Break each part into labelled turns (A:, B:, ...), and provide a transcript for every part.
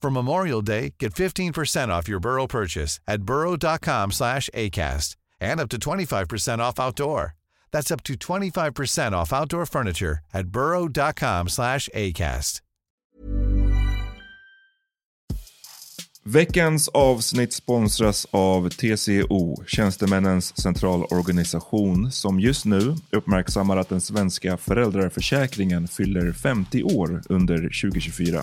A: For Memorial Day, get 15% off your Burrow purchase at burrow.com slash ACAST and up to 25% off outdoor. That's up to 25% off outdoor furniture at burrow.com slash ACAST.
B: Veckans avsnitt sponsras av TCO, Tjänstemännens centralorganisation, som just nu uppmärksammar att den svenska föräldraförsäkringen fyller 50 år under 2024.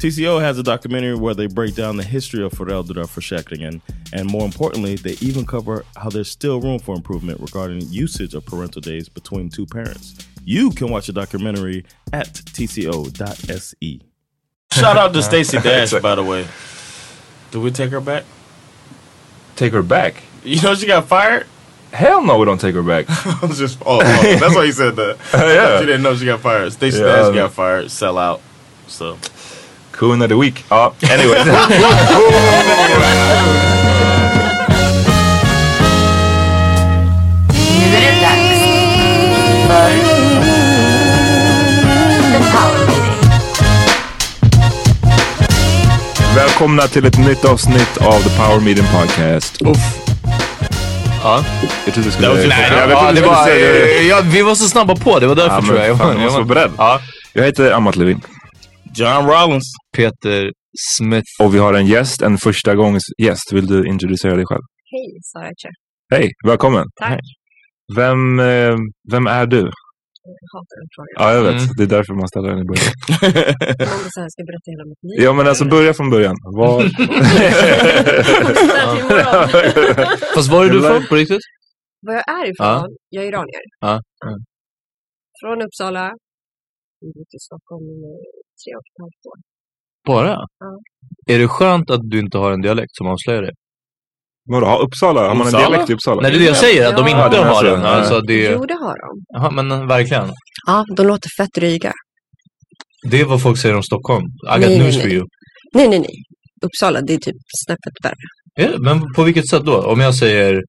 C: TCO has a documentary where they break down the history of Fereldra for Shackringen, and more importantly, they even cover how there's still room for improvement regarding usage of parental days between two parents. You can watch the documentary at tco.se. Shout out to Stacey Dash, by the way. Do we take her back?
D: Take her back?
C: You know she got fired?
D: Hell no, we don't take her back.
C: I was just, oh, oh, that's why you said that.
D: yeah.
C: She didn't know she got fired. Stacey
D: Yeah, I
C: Dash
D: know.
C: got fired, sell out. So.
D: Coon of the week.
B: Uh,
D: Ja, anyway.
B: Välkomna till ett nytt avsnitt av The Power Meeting Podcast. Uff.
D: Ja.
B: Jag trodde du skulle...
D: Nej,
B: Eh, jag vet
D: ja,
B: inte
D: det
B: vad du
D: var,
B: säger.
D: eh, ja, vi var så snabba på, det var därför
B: Ja, men
D: tror jag.
B: fan, jag måste vara beredd.
D: Ja.
B: Jag heter Amat Levin.
C: John Rollins.
D: Peter Smith.
B: Och vi har en gäst, en första gångs gäst. Vill du introducera dig själv?
E: Hej, sa jag. tror.
B: Hej, välkommen.
E: Tack.
B: Hej. Vem, eh, vem är du?
E: Jag hatar den frågan.
B: Ja, jag vet.
D: Mm.
B: Det är därför man ställer den i början.
E: Om det så här ska jag berätta hela mitt liv.
B: Ja, men alltså börja från början. Var...
E: Där till imorgon.
D: Fast var är du
B: Jag lär-
D: från på riktigt?
E: Var jag är ifrån?
D: Ja.
E: Jag är iranier.
D: Ja.
E: Från Uppsala. Jag bodde till Stockholm i tre och ett halvt år.
D: Bara?
E: Ja.
D: Är det skönt att du inte har en dialekt som avslöjar det?
B: Vadå, har Uppsala? Har man en
D: Uppsala?
B: dialekt i Uppsala?
D: Nej, det är det jag säger, att de
E: Ja.
D: inte
E: Ja, det
B: är
D: har
B: så.
D: den.
B: Nej.
D: Alltså, det
E: Jo, det har de.
D: Jaha, men eh, verkligen.
E: Ja, de låter fett dryga.
D: Det är vad folk säger om Stockholm. I got
E: Nej,
D: news
E: nej,
D: for
E: nej.
D: you.
E: Nej, nej, nej. Uppsala, det är typ snäppet värre.
D: Ja, men på vilket sätt då? Om jag säger...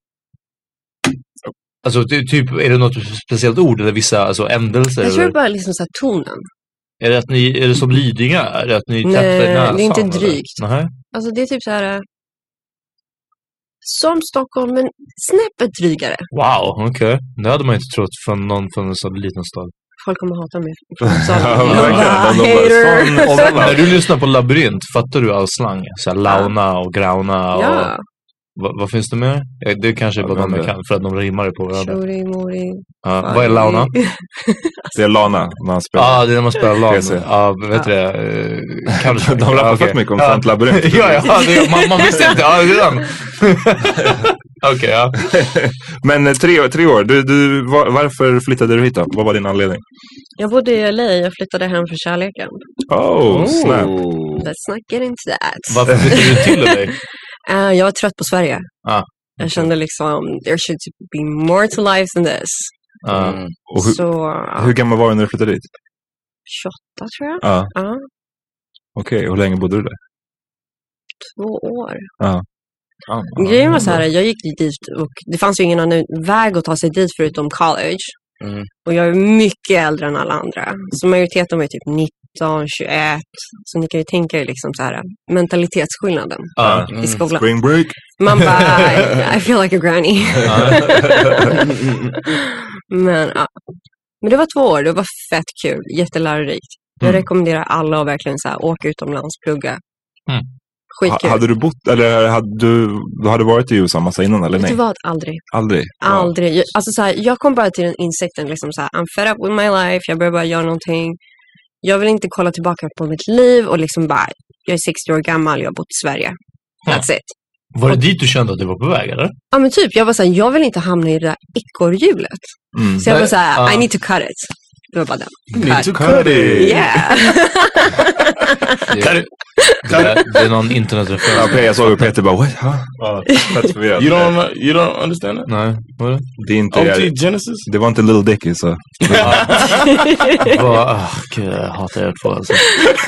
D: Alltså, ty- typ, är det något speciellt ord eller vissa alltså, ändelser?
E: Jag
D: eller?
E: tror bara liksom så här tonen.
D: Är det att ni, är det som Lidingö? Är det att ni
E: Nej,
D: täpper
E: det är
D: näsan,
E: inte
D: eller?
E: drygt.
D: Nej.
E: Alltså det är typ så här... eh, Som Stockholm, men snäppet drygare.
D: Wow, okej. Det hade man inte trott från någon från en sån liten stad.
E: folk kommer hata mig från Uppsala.
B: Ja,
E: Jag bara,
B: verkligen. De bara,
E: hater.
B: "Fan,
D: Och när du lyssnar på labyrint, fattar du all slang? Så här, launa och grauna och...
E: Ja,
D: Vad, vad finns det mer? Eh, Det kanske är bara
B: Jag vet
D: de jag
B: inte.
D: kan, för att de rimmar ju på varandra.
E: tjori, mori.
D: Ja, vad är launa?
B: Det är Lana när han
D: Ja,
B: spelar.
D: det är när man spelar LAN.
B: PC.
D: Ja, vad heter det? Eh, Counter-Strike.
B: De rappar
D: Ja, okej.
B: fett mycket om
D: Ja.
B: Sant Labyrint.
D: Ja, ja, det, man, man visste inte. Ja, redan. Okej, ja.
B: Men eh, tre, år- tre år, du, du, var, varför flyttade du hit då? Vad var din anledning?
E: Jag bodde i LA, jag flyttade hem för kärleken.
B: Oh, snap.
E: Let's not get into that.
D: Varför flyttade du till dig?
E: Eh, jag var trött på Sverige.
D: Ah,
E: Jag kände liksom, there should be more to life than this.
D: Ja.
B: Och hur,
E: Så, ja,
B: hur gammal var du när du flyttade dit?
E: 28 tror jag.
B: Ja,
E: Ja,
B: Okej, hur länge bodde du där?
E: två år.
B: Ja,
E: Grejen var så här, jag gick ju dit och det fanns ju ingen annan väg att ta sig dit förutom college.
D: Mm.
E: Och jag är mycket äldre än alla andra. Så majoriteten var ju typ 19, 21. Så ni kan ju tänka er liksom så här, mentalitetsskillnaden
D: Ja.
B: mm,
E: i skolan.
B: Spring break.
E: Man bara, I, I feel like a granny. Men, ja. Men det var två år, det var fett kul, jättelärorikt. Jag
B: Mm.
E: rekommenderar alla att verkligen så här, åka utomlands, plugga.
D: Mm.
B: Ha,
E: Skitkul.
B: hade du bott, eller hade du, du hade varit i USA massa innan eller
E: Vet du
B: nej?
E: vad? Aldrig.
B: Aldrig?
E: Aldrig. Jag, alltså så här, jag kom bara till den insikten, liksom så här, I'm fed up with my life, jag behöver bara göra någonting. Jag vill inte kolla tillbaka på mitt liv och liksom bara, jag är 60 år gammal, jag har bott i Sverige. That's it.
D: Var det dit du kände att du var på väg, eller?
E: Ja men typ, jag var såhär, jag vill inte hamna i det där ekorrhjulet.
B: Mm.
E: Så jag var såhär,
D: Ja.
E: I need to cut it. Det var bara det.
B: to cut it.
E: Yeah.
D: Det, det, det är någon
B: Ja,
D: internetreferens.
B: Pe- jag såg ju Peter bara, what? Huh? Fett förvirrad.
C: You don't you don't understand that?
D: Nej, vad är det?
B: Det, är inte,
C: OT Genesis?
B: det var inte Little Dicky så.
D: Vad, ah, gud, jag hatar er två alltså.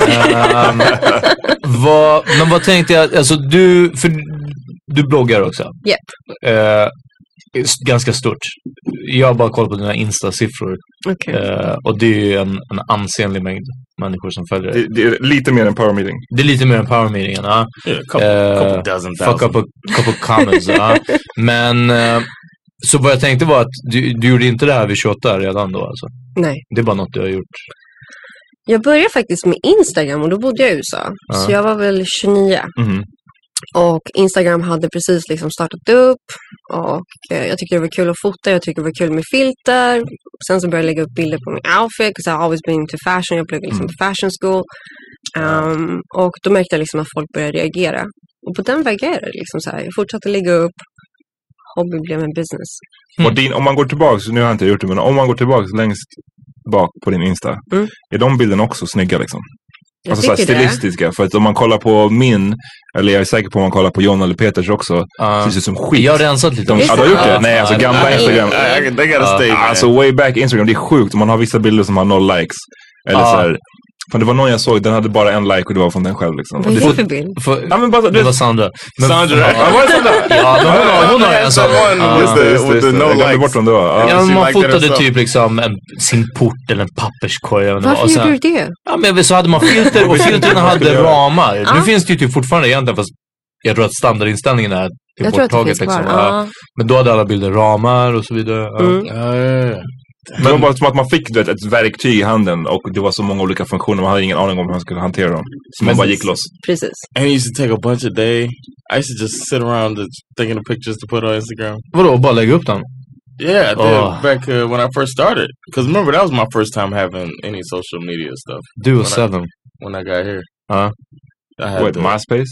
D: Ehm, vad, men vad tänkte jag, alltså du, för du bloggar också.
E: Japp.
D: Eh, s- ganska stort. Jag har bara kollat på dina Insta-siffror
E: Okej.
D: eh, och det är ju en, en ansenlig mängd människor som följer dig.
B: Det, det är lite mer än power meeting.
D: Det är lite mer än power-meetingen. ja.
C: Yeah, a couple,
D: Eh,
C: couple dozen
D: Fuck
C: thousand.
D: up a couple comments. ja. Men eh, så vad jag tänkte var att du, du gjorde inte det här vid 28 redan då alltså.
E: Nej.
D: Det är bara något du har gjort.
E: Jag började faktiskt med Instagram och då bodde jag i USA.
D: Ja.
E: Så jag var väl 29.
B: Mhm.
E: Och Instagram hade precis liksom startat upp. Och eh, jag tyckte det var kul att fota, jag tyckte det var kul med filter. Sen så började jag lägga upp bilder på min outfit. 'cause I've always been into fashion, jag pluggade liksom på fashion school. Um, och då märkte jag liksom att folk började reagera. Och på den vägen är det liksom så här. Jag fortsatte lägga upp. Hobby blev en business.
D: Mm.
B: Och din, om man går tillbaks, nu har jag inte gjort det, men om man går tillbaks längst bak på din Insta.
E: Mm.
B: Är de bilderna också snygga liksom?
E: Jag
B: Alltså såhär
E: tycker det.
B: stilistiska. För att om man kollar på min, eller jag är säker på om man kollar på John eller Peters också,
D: Ja.
B: det ser ut som skit.
D: Jag har rensat lite.
B: De,
E: Är det
B: ja, du har gjort det?
E: sant?
B: Nej, alltså gamla
E: Nej.
B: Instagram.
E: I-
B: they gotta
D: stay,
B: uh, alltså way back Instagram, det är sjukt. Man har vissa bilder som har noll likes. Eller
D: Ja.
B: så här, fan, det var någon jag såg, den hade bara en like och det var från den själv liksom.
E: Vad är
B: Det-
E: det för bild?
D: För,
B: Ja men bara så-
D: det
B: du
D: var
B: vet.
D: Sandra. Men-
B: Sandra. Ja, var det Sandra?
D: Ja, men hon har, hon har en sån. Ja.
B: Just det, just det. Just det. Jag glömde bort vem det var. Ja.
D: Ja, men man
C: like that
D: fotade
C: herself.
D: typ liksom en, sin port eller en papperskorg. eller vad det var.
E: Varför
D: Och
E: gjorde
D: sen,
E: du det?
D: ja, men så hade man filter och filtren hade
B: göra.
D: ramar. Nu
E: Ja.
D: finns det ju typ fortfarande egentligen fast jag tror att standardinställningen är typ
E: Jag tror att det
D: borttaget.
E: finns
D: liksom.
E: kvar.
D: ja.
E: Ja.
D: Men då hade alla bilder ramar och så vidare. Ja.
E: Mm.
C: Ja, ja, ja.
B: Det var bara som att man fick du vet, ett verktyg i handen och det var så många olika funktioner. Man hade ingen aning om hur man skulle hantera dem. Så man
C: Men-
B: bara gick loss.
E: Precis.
C: And it used to take a bunch a day. I used to just sit around just thinking of pictures to put on Instagram.
D: Vadå, bara lägga upp den?
C: Yeah, I did
D: Oh.
C: back uh, when I first started. Because remember, that was my first time having any social media stuff
D: Du och
C: Vadå?
D: Seven. Ah.
C: when I got here.
D: Ja.
C: I had
B: What,
C: the-
B: MySpace?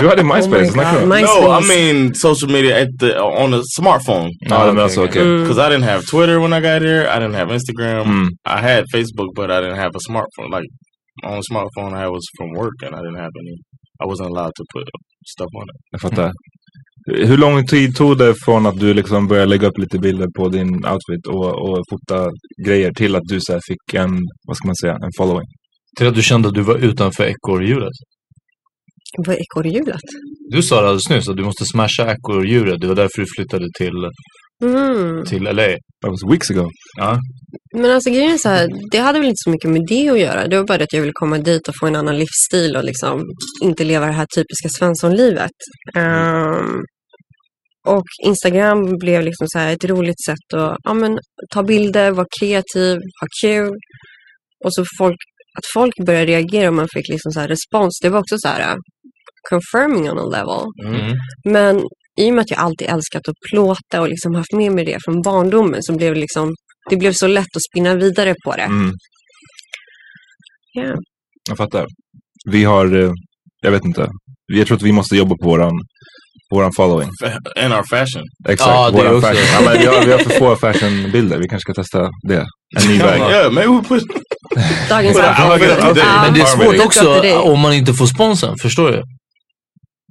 B: du hade MySpace, snackar du om?
E: MySpace.
C: no, I mean social media at the on a smartphone.
B: Ja, men alltså okej.
E: Mm.
C: Because I didn't have Twitter when I got here. I didn't have Instagram.
D: Hmm.
B: Mm.
C: I had Facebook, but I didn't have a smartphone. Like my only smartphone I had was from work, and I didn't have any. I wasn't allowed to put stuff on it.
B: Jag fattar. Hur lång tid tog det från att du liksom började lägga upp lite bilder på din outfit och, och fota grejer till att du så här fick en, vad ska man säga, en following?
D: Till att du kände att du var utanför ekorrhjulet.
E: Vad är ekorrhjulet?
D: Du sa det alldeles nyss att du måste smasha ekorrhjulet. Det var därför du flyttade till,
E: Mm.
D: till LA.
B: That was weeks ago.
D: Ja.
E: Men alltså grejen är så här, det hade väl inte så mycket med det att göra. Det var bara det att jag ville komma dit och få en annan Mm. livsstil och liksom inte leva det här typiska svenssonlivet. Um, Och Instagram blev liksom så här ett roligt sätt att ja, men, ta bilder, vara kreativ, ha kul. Och så folk, att folk började reagera och man fick liksom så här respons, det var också så här uh, confirming on a level.
D: Mm.
E: Men i och med att jag alltid älskat att plåta och liksom haft med mig det från barndomen så blev det liksom, det blev så lätt att spinna vidare på det.
B: Mm.
E: Ja.
B: Jag fattar. Vi har, eh, jag vet inte. Jag tror att vi måste jobba på våran, våran following.
C: And our fashion.
B: Exakt,
D: Ja, det
B: våran
D: också.
B: fashion. Ja, men vi, har, vi har för få fashionbilder. Vi kanske ska testa det. En ny väg.
C: Yeah, maybe we put
E: Dagens
B: Well,
E: outfit.
B: I'm looking at today.
E: Ja.
D: Men det är
B: Farming.
D: svårt också
E: Grattis.
D: om man inte får sponsen, förstår du?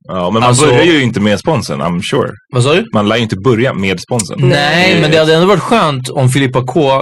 B: Ja, men man
D: Alltså-
B: börjar ju inte med sponsen, I'm sure.
D: Vad sa du?
B: Man lär ju inte börja med sponsen.
D: Nej, men det hade ändå varit skönt om Filippa K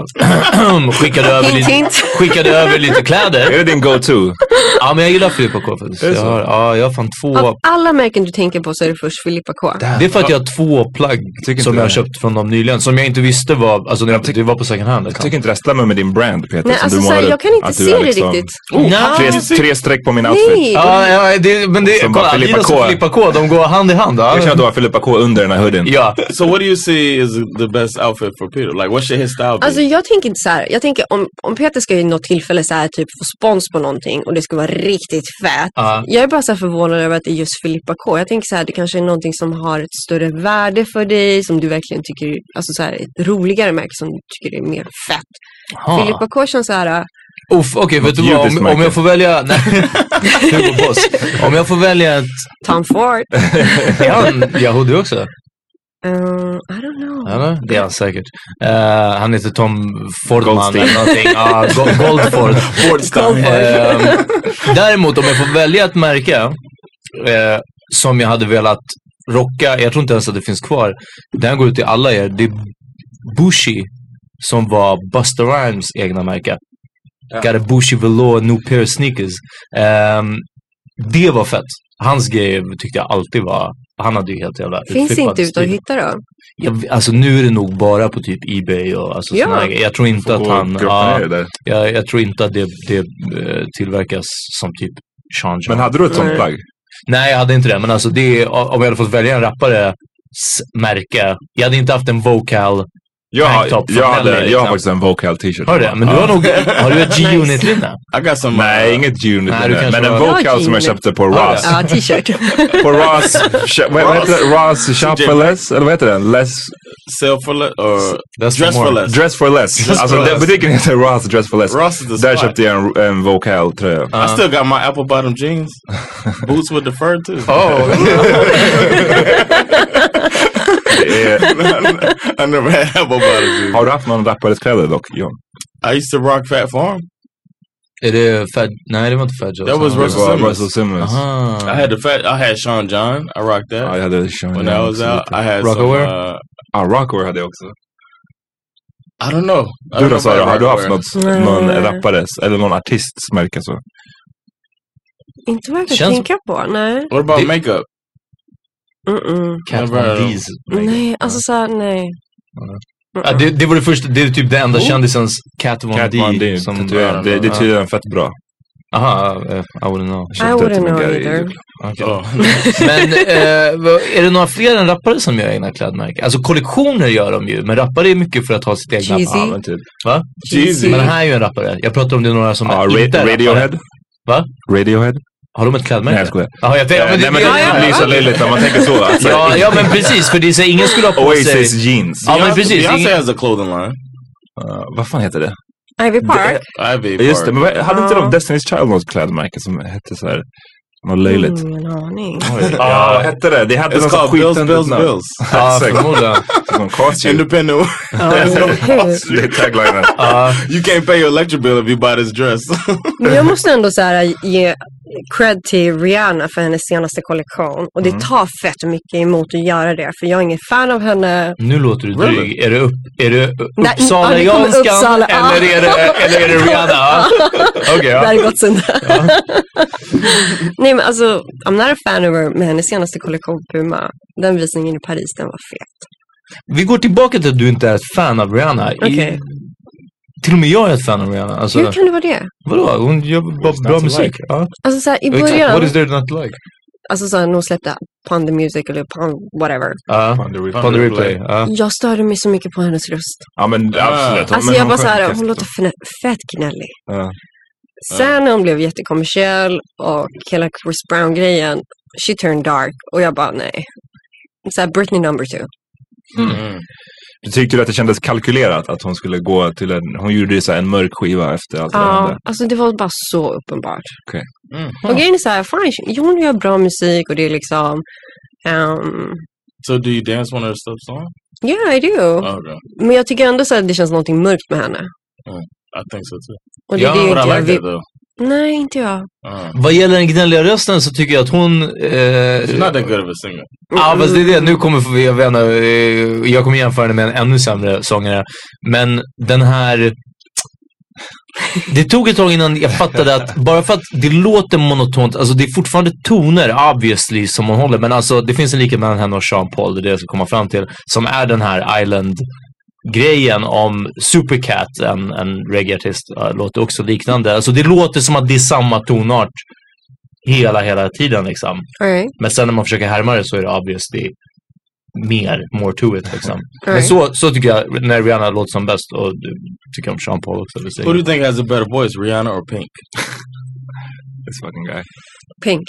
D: skickade, över
E: Hint,
D: lite,
E: hint.
D: skickade över lite
B: Är
D: kläder.
B: det din go-to?
D: Ja, men jag gillar Filippa K faktiskt.
B: Är det
D: Jag
B: så?
D: har, ja, jag har fan
E: Av
D: två.
E: alla märken du tänker på så är det först Filippa K.
D: Det är för att jag har två plagg
B: Tycker
D: som
B: inte
D: jag har
B: det.
D: köpt från dem nyligen. Som jag inte visste var, alltså när jag,
B: Jag tyck-
D: det var på second hand. liksom.
B: Jag tycker inte det stämmer med din brand, Peter.
E: Nej,
B: som
E: alltså
B: du
E: så här,
B: målar
E: jag
B: upp.
E: kan inte
B: Att du
E: se
B: är
E: det
B: liksom-
E: riktigt.
D: Oh,
B: Tre, tre streck på min outfit.
E: Nej.
D: Ja, ja det, men det,
B: Som
D: kolla,
B: bara Filippa
D: Adidas
B: K.
D: och Filippa K, de går hand i hand. Ja.
B: Jag känner att du har Filippa K under den här hoodien.
D: Ja.
C: So what do you see is the best outfit for Peter? Like what should his style be?
D: Mm.
E: Alltså jag tänker inte så här. Jag tänker om, om Peter ska i något tillfälle så här typ få spons på någonting och det ska vara riktigt fett.
D: Ja.
E: Jag är bara så här förvånad över att det är just Filippa K. Jag tänker så här, det kanske är någonting som har ett större värde för dig, som du verkligen tycker, alltså så här ett roligare märke som du tycker är mer fett.
D: Ah.
E: Filippa K känns så här, äh,
D: Uff, okej, vet du vad?
B: judiskt
D: Om, om
B: märke.
D: jag får välja... Nej. Hugo Boss. Om jag får välja ett...
E: Tom Ford.
D: Är han Yahudi också?
E: Eh, I don't know.
D: Eller? Det är han säkert. Eh, han heter Tom Fordman
B: Goldstein.
D: eller någonting. Ja, Go- Goldford.
E: Goldford.
D: Ehm, däremot om jag får välja ett märke eh, som jag hade velat rocka, jag tror inte ens att det finns kvar. Den går ut till alla er. Det är Bushy som var Buster Rhymes egna märke. Got a Bushy Velour New Pair of Sneakers. Ehm, det var fett. Hans grej tyckte jag alltid var, han hade ju helt jävla
E: Finns
D: utflippad
E: inte ute att
D: stil.
E: hitta då?
D: Jag, alltså nu är det nog bara på typ Ebay och alltså
E: Ja.
D: såna här grejer. Jag tror inte att
B: Och
D: han...
B: grotta
D: ja,
B: ner det där.
D: jag, jag tror inte att det, det eh, tillverkas som typ Sean John.
B: Men hade du ett sånt plagg?
D: Nej, jag hade inte det. Men alltså det är, om jag hade fått välja en rappare märke. Jag hade inte haft en vocal.
B: Jag,
D: Tanktop från
B: jag,
D: Nelly,
B: hade, jag
D: liksom.
B: har faktiskt en vocal t-shirt.
D: Har du det? Men du har nog... Har du ett G-Unit-linne?
C: I got some uh,
B: Nej, inget unit.
D: Nej, du
B: men
D: kanske
B: en
D: har-
E: Jag har
B: vocal som jag
E: unit.
B: köpte på
D: Har du?
B: Ross.
E: Ja, t-shirt.
B: På Ross... Sh- vad vad heter det? Ross shop for less? Eller vad heter den? Less...
C: sell for less or
D: That's
C: dress
D: more.
C: for less.
B: Dress for less.
C: Dress
B: alltså
C: for
B: den
C: less.
B: butiken heter Ross Dress for less.
C: Ross is the
B: Där
C: spot.
B: köpte jag en, en vocal tröja.
C: I still got my apple bottom jeans. Boots with the fur too.
B: Oh. Det är-
C: I never had apple bottom jeans.
B: Har du haft någon rappares kläder dock, John?
C: I used to rock Fat Farm.
D: Är det Fed... Nej, det var inte Fed Joe.
C: That was
B: Det
C: Russell
B: var
C: Simmons.
B: Russell Simmons.
D: Aha.
C: I had the fat. I had Sean John. I rocked that.
B: Ja, jag hade Sean
C: when I
B: Young
C: was
B: också
C: out,
B: lite.
C: I had some.
D: Rockaware?
C: Uh,
B: Ja, Rockaware hade jag också.
C: I don't know. I
B: Du
C: don't know
B: då
C: if I had
B: Sara, har du haft
C: Rockaware.
B: något,
E: Nej.
B: någon rappares eller någon artists märke så?
E: inte vad jag kan
D: Känns-
E: tänka på, nej.
C: What about
D: Did-
C: makeup?
E: Mm-mm.
D: Kat
C: Never
D: Von
C: heard of
D: D's.
E: Nej, alltså så här, nej.
D: Ja, det, det var det första, det är typ det enda kändisens Cat Von
B: Cat Von D.
D: D.
B: som
D: som-
B: tatuerade. Det, det är tydligen fett bra.
D: typ- Aha, eh, I wouldn't know.
E: I wouldn't know either.
C: Oh.
D: Men eh, vad- är det några fler än rappare som gör egna klädmärken? Alltså kollektioner gör de ju, men rappare är mycket för att ha sitt egna.
E: Cheesy.
B: Ja, men typ.
D: Va?
E: Cheesy.
D: Men här är ju en rappare. Jag pratar om det är några som
B: Ja,
D: är
B: ra-
D: inte är
B: Radiohead.
D: rappare. Va?
B: Radiohead?
D: Har de ett klädmärke?
B: Nej, jag skojar.
D: Jaha, jag tänkte,
B: Eh, Nej, men det blir så löjligt när man tänker så. Alltså,
D: ja, ja, men precis. För det är så, ingen skulle ha på sig...
B: Oasis jeans.
D: Ja, men
C: Beyonce-
D: precis.
C: Beyonce
D: Ingen,
C: has a clothing line.
B: Eh, vad fan heter det?
E: Ivy Park.
C: Ivy
B: Ja, Just det,
C: Park.
B: men vad- hade inte
E: Ja.
B: de Destiny's Child något klädmärke som hette så här något löjligt?
E: Mm, ingen aning.
B: Oj, Ja, vad hette det? Det hade
C: It's
B: något sånt
C: called Bills,
B: skitande
C: Bills,
B: namn.
C: Bills.
D: ja,
B: Exakt.
D: förmodligen.
B: Som costume.
C: Independent.
B: Det är taglinen.
D: Ja.
C: you can't pay your electric bill if you buy this dress.
E: Men jag måste ändå så här, ge cred till Rihanna för hennes senaste kollektion. Och
D: Mm.
E: det tar fett mycket emot att göra det, för jag är ingen fan av henne.
D: Nu låter du dryg. Är det, upp, är det
E: Nej, ja, det
D: Uppsalajanskan
E: kommer Uppsala. Ja.
D: eller, är det, eller är det Rihanna? Ja. Okej,
E: Det
D: ja.
E: här är gott sen. Nej men alltså, I'm not a fan of her, men hennes senaste kollektion Puma, den visningen i Paris, den var fet.
D: Vi går tillbaka till att du inte är ett fan av Rihanna. I, alltså-
E: Okej.
D: Till och med jag är ett fan av Rihanna. Alltså,
E: Hur kan det vara det?
D: Vadå? Hon gör bara bra
B: to
D: musik.
B: like.
D: Ja.
E: Alltså så här, i
D: Exakt. What
E: början,
D: is there not to like?
E: alltså så här, när hon släppte Pun the Music eller Pun whatever.
D: Ja, Pon the replay. ja.
E: Jag störde mig så mycket på hennes röst.
B: Ja, men absolut.
E: Alltså
B: men
E: jag
B: hon
E: bara så här,
B: sjöng
E: hon låter
B: efter.
E: fne- fett gnällig.
B: Ja.
E: Sen när hon blev jättekommersiell och hela Chris Brown-grejen, she turned dark. Och jag bara nej. Så här Britney number two.
B: Mm.
E: Mm.
B: Du tyckte du att det kändes kalkylerat att hon skulle gå till en... Hon gjorde ju så här en mörk skiva efter allt det där
E: Ja,
B: hände.
E: alltså det var bara så uppenbart.
B: Okej.
E: Och grejen är så här, fine, hon gör bra musik och det är liksom ehm,
F: So do you dance one of her stuff song?
E: Yeah, I do.
F: Okay.
E: Men jag tycker ändå så här, det känns någonting mörkt med henne.
F: I think so too.
E: Och det är det
F: but I
E: inte jag
F: like that
E: vill.
F: though.
E: Nej, inte jag.
F: Uh,
D: Vad gäller den gnälliga rösten så tycker jag att hon... eh,
F: she's not that good of a singer.
D: Ja,
E: Mm,
D: fast det är det. Nu kommer vi, jag, vet inte, eh, jag kommer jämföra henne med en ännu sämre sångare. Men den här... Det tog ett tag innan jag fattade att bara för att det låter monotont, alltså det är fortfarande toner obviously som hon håller, men alltså det finns en likhet mellan henne och Sean Paul, det är det jag ska komma fram till, som är den här Island grejen om Supercat, en, en reggaeartist, äh, låter också liknande. Alltså det låter som att det är samma tonart hela, hela tiden liksom.
E: All right.
D: Men sen när man försöker härma det så är det obviously mer, more to it liksom. Men
E: Right.
D: så, så tycker jag när Rihanna låter som bäst och du tycker om Sean Paul också. vill säga.
F: Who do you think has a better voice, Rihanna or Pink?
B: This fucking guy.
E: Pink.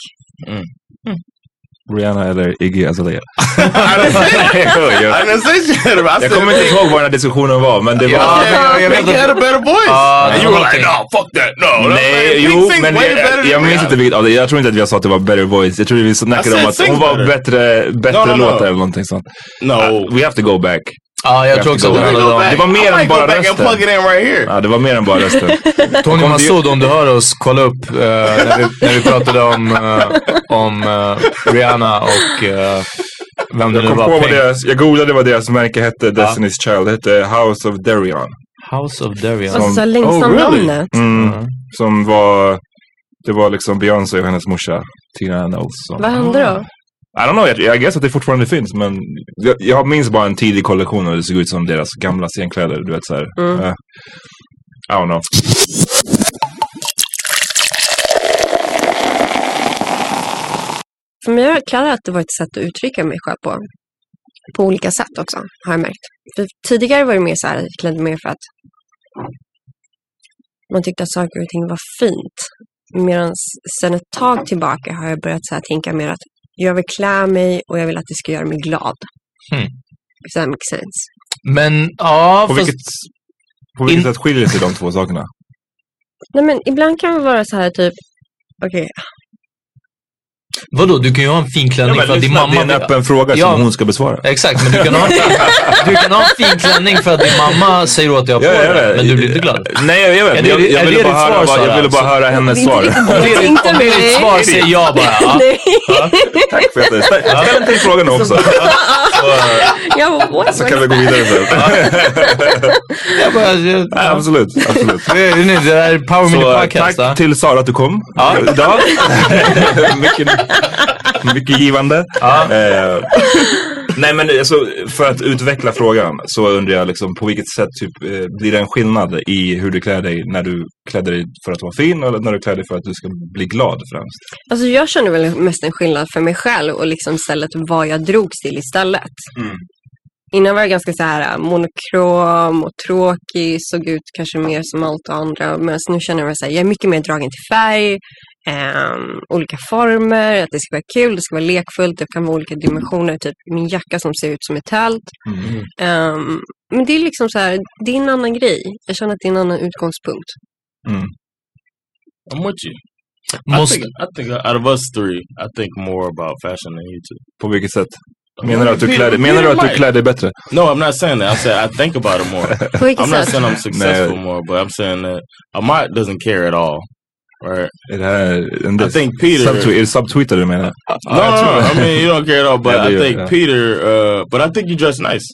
B: Rihanna eller Iggy Azalea? jag, jag kommer inte ihåg vad den här diskussionen var, men det var...
D: Ja, jag- jag vet
F: Pink had a
D: inte.
F: better voice.
D: Ja, det
F: And you
D: var
F: were like,
D: någonting.
F: no, fuck that, no. no,
B: Nej,
F: Pink
B: jo,
F: sings
B: men
F: way
B: jag,
F: better
B: jag,
F: than
B: minns
F: Rihanna.
B: inte vilket av det. Jag tror inte att vi sa att det var better voice. Jag tror vi snackade
F: said
B: om att
F: sings
B: hon var
F: better.
B: bättre, bättre
F: No, no, no.
B: låtar eller någonting sånt.
F: No.
B: We have to go back.
D: Ja, jag tror också att det
B: Go back.
D: handlar om...
B: Det var
F: I
B: mer
F: might
B: än
F: go
B: bara
F: back and plug
B: rösten.
F: it in right here.
B: Ja, det var mer än bara rösten.
D: Tony
B: Kom, det-
D: Massoud, om du hör oss, kolla upp eh, när, vi, när vi pratade om, eh, om eh, Rihanna och eh, vem det
B: Jag
D: nu
B: kom på
D: var.
B: vad
D: Pink.
B: deras, jag googlade vad deras märke hette, Destiny's Child. Det hette House of Darion.
D: House of Darian.
E: Alltså så här, längst
F: Oh,
E: fram
F: really?
E: namnet.
B: Mm, Som var, det var liksom Beyoncé och hennes morsa Tina Knowles. Som,
E: Vad hände då?
B: I don't know, jag, jag guess att det fortfarande finns men jag, jag minns bara en tidig kollektion och det såg ut som deras gamla scenkläder. Du vet såhär.
E: Mm.
B: eh, I don't know.
E: För mig har kläder alltid varit ett sätt att uttrycka mig själv på. På olika sätt också, har jag märkt. För tidigare var det mer så här, jag klädde mer för att man tyckte att saker och ting var fint. Medan sen ett tag tillbaka har jag börjat så här, tänka mer att jag vill klä mig och jag vill att det ska göra mig glad.
D: Hmm.
E: If that makes sense.
D: Men ja,
B: På
D: fast
B: vilket, på vilket
D: In-
B: sätt skiljer sig de två sakerna?
E: Nej men ibland kan det vara så här typ, okej,
D: vadå, du kan ju ha en fin klänning för att din
B: lyssna,
D: mamma...
B: det är en öppen fråga
D: Ja.
B: som hon ska besvara.
D: Exakt, men du kan, ha, du kan ha en fin klänning för att din mamma säger åt dig att ha
B: Ja,
D: på
B: jag
D: dig,
B: vet.
D: men du blir inte glad.
B: Nej, jag, jag
D: Är
B: vet.
D: det-
B: Jag,
D: är
B: jag,
D: det
B: ville bara
D: ditt svar,
B: höra, vad- jag
D: Sara?
B: ville bara höra hennes svar.
D: Om det är ditt- om det är ditt svar säger jag bara. Ja.
E: nej.
B: Tack för att du ställ- ställ en till fråga nu också.
E: jag bara, what?
B: Så Alltså, kan vi gå vidare sen.
D: Jag bara, jag-
B: Ja, Absolut, absolut.
D: Det är- det är- det där är Power Mini
B: Så eh,
D: Podcast. va?
B: tack till Sara att du kom idag. mycket, mycket givande. Eh, nej men alltså, för att utveckla frågan så undrar jag liksom på vilket sätt typ, eh, blir det en skillnad i hur du klär dig när du klär dig för att vara fin eller när du klär dig för att du ska bli glad främst?
E: Alltså jag kände väl mest en skillnad för mig själv och liksom istället vad jag drogs till istället.
B: Mm.
E: Innan var jag ganska så här äh, monokrom och tråkig, såg ut kanske mer som allt det andra. Men nu känner jag mig så här, jag är mycket mer dragen till färg, ehm, olika former, att det ska vara kul, det ska vara lekfullt, det kan vara olika dimensioner, typ min jacka som ser ut som ett tält.
B: Mm.
E: Ehm, men det är liksom så här, det är en annan grej. Jag känner att det är en annan utgångspunkt.
F: I'm with you.
D: Måste,
F: I think, I think out of us three, I think more about fashion than you two.
B: På vilket sätt? Menar du att du
F: Peter-
B: klär dig, menar du att du
F: Peter
B: klär dig bättre?
F: No, I'm not saying that. I said I think about it more.
E: På vilket
F: I'm not
E: sätt?
F: saying I'm successful more, but I'm saying that Amat doesn't care at all. Right?
B: Är det här en
F: I
B: diss?
F: think Peter- Uh,
B: Subtweet, är det subtweetar du menar?
F: No, no, no. I mean, you don't care at all, but
B: Yeah,
F: I
B: they-
F: think
B: yeah.
F: Peter, uh, but I think you dress nice.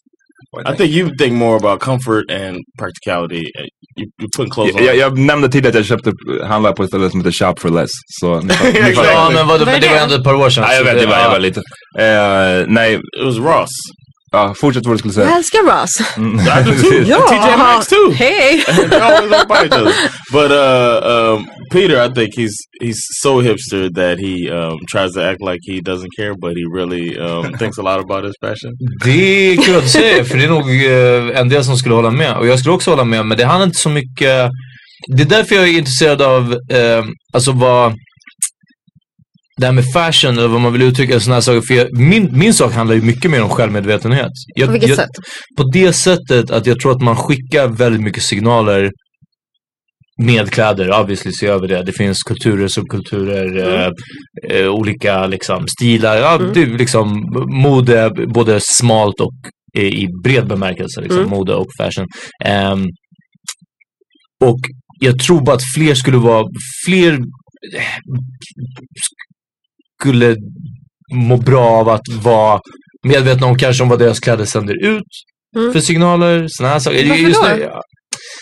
F: I think you think more about comfort and practicality. Uh, You, you're putting clothes
B: Jag,
F: on.
B: jag, jag nämnde tidigare att jag köpte, handlade på ett ställe som heter Shop for Less. Så ni fattar- ni
F: Exakt.
B: fattar.
D: ja, men, vadå,
E: Vad är
D: men det var
E: det?
D: ändå ett par år sedan.
B: Nej, jag
D: så
B: vet,
D: det-
B: det var, jag
D: ja.
B: var lite. Eh, nej,
F: It was Ross.
B: Ja, fortsätt vad du skulle
E: Jag
B: säga.
E: älskar Ross.
F: I do too. TJ Maxx too.
E: Hej!
F: They always on by each other. But uh, um, Peter, I think he's he's so hipster that he um, tries to act like he doesn't care, but he really um, thinks a lot about his fashion.
D: Det är kul att du säger för det är nog eh, en del som skulle hålla med. Och jag skulle också hålla med, men det handlar inte så mycket... Det är därför jag är intresserad av eh, alltså vad... Det här med fashion eller vad man vill uttrycka sådana här saker. För jag, min, min sak handlar ju mycket mer om självmedvetenhet. Jag,
E: På vilket
D: jag,
E: sätt?
D: På det sättet att jag tror att man skickar väldigt mycket signaler med kläder, obviously så gör vi det. Det finns kulturer, subkulturer, eh, eh, olika liksom, stilar. Ja, det är liksom mode, både smalt och eh, i bred bemärkelse. Liksom,
E: Mm.
D: Mode och fashion. Ehm, och jag tror bara att fler skulle vara, fler eh, skulle må bra av att vara medvetna om kanske om vad deras kläder sänder ut
E: Mm.
D: för signaler, sådana här saker.
E: Varför då?
D: nu-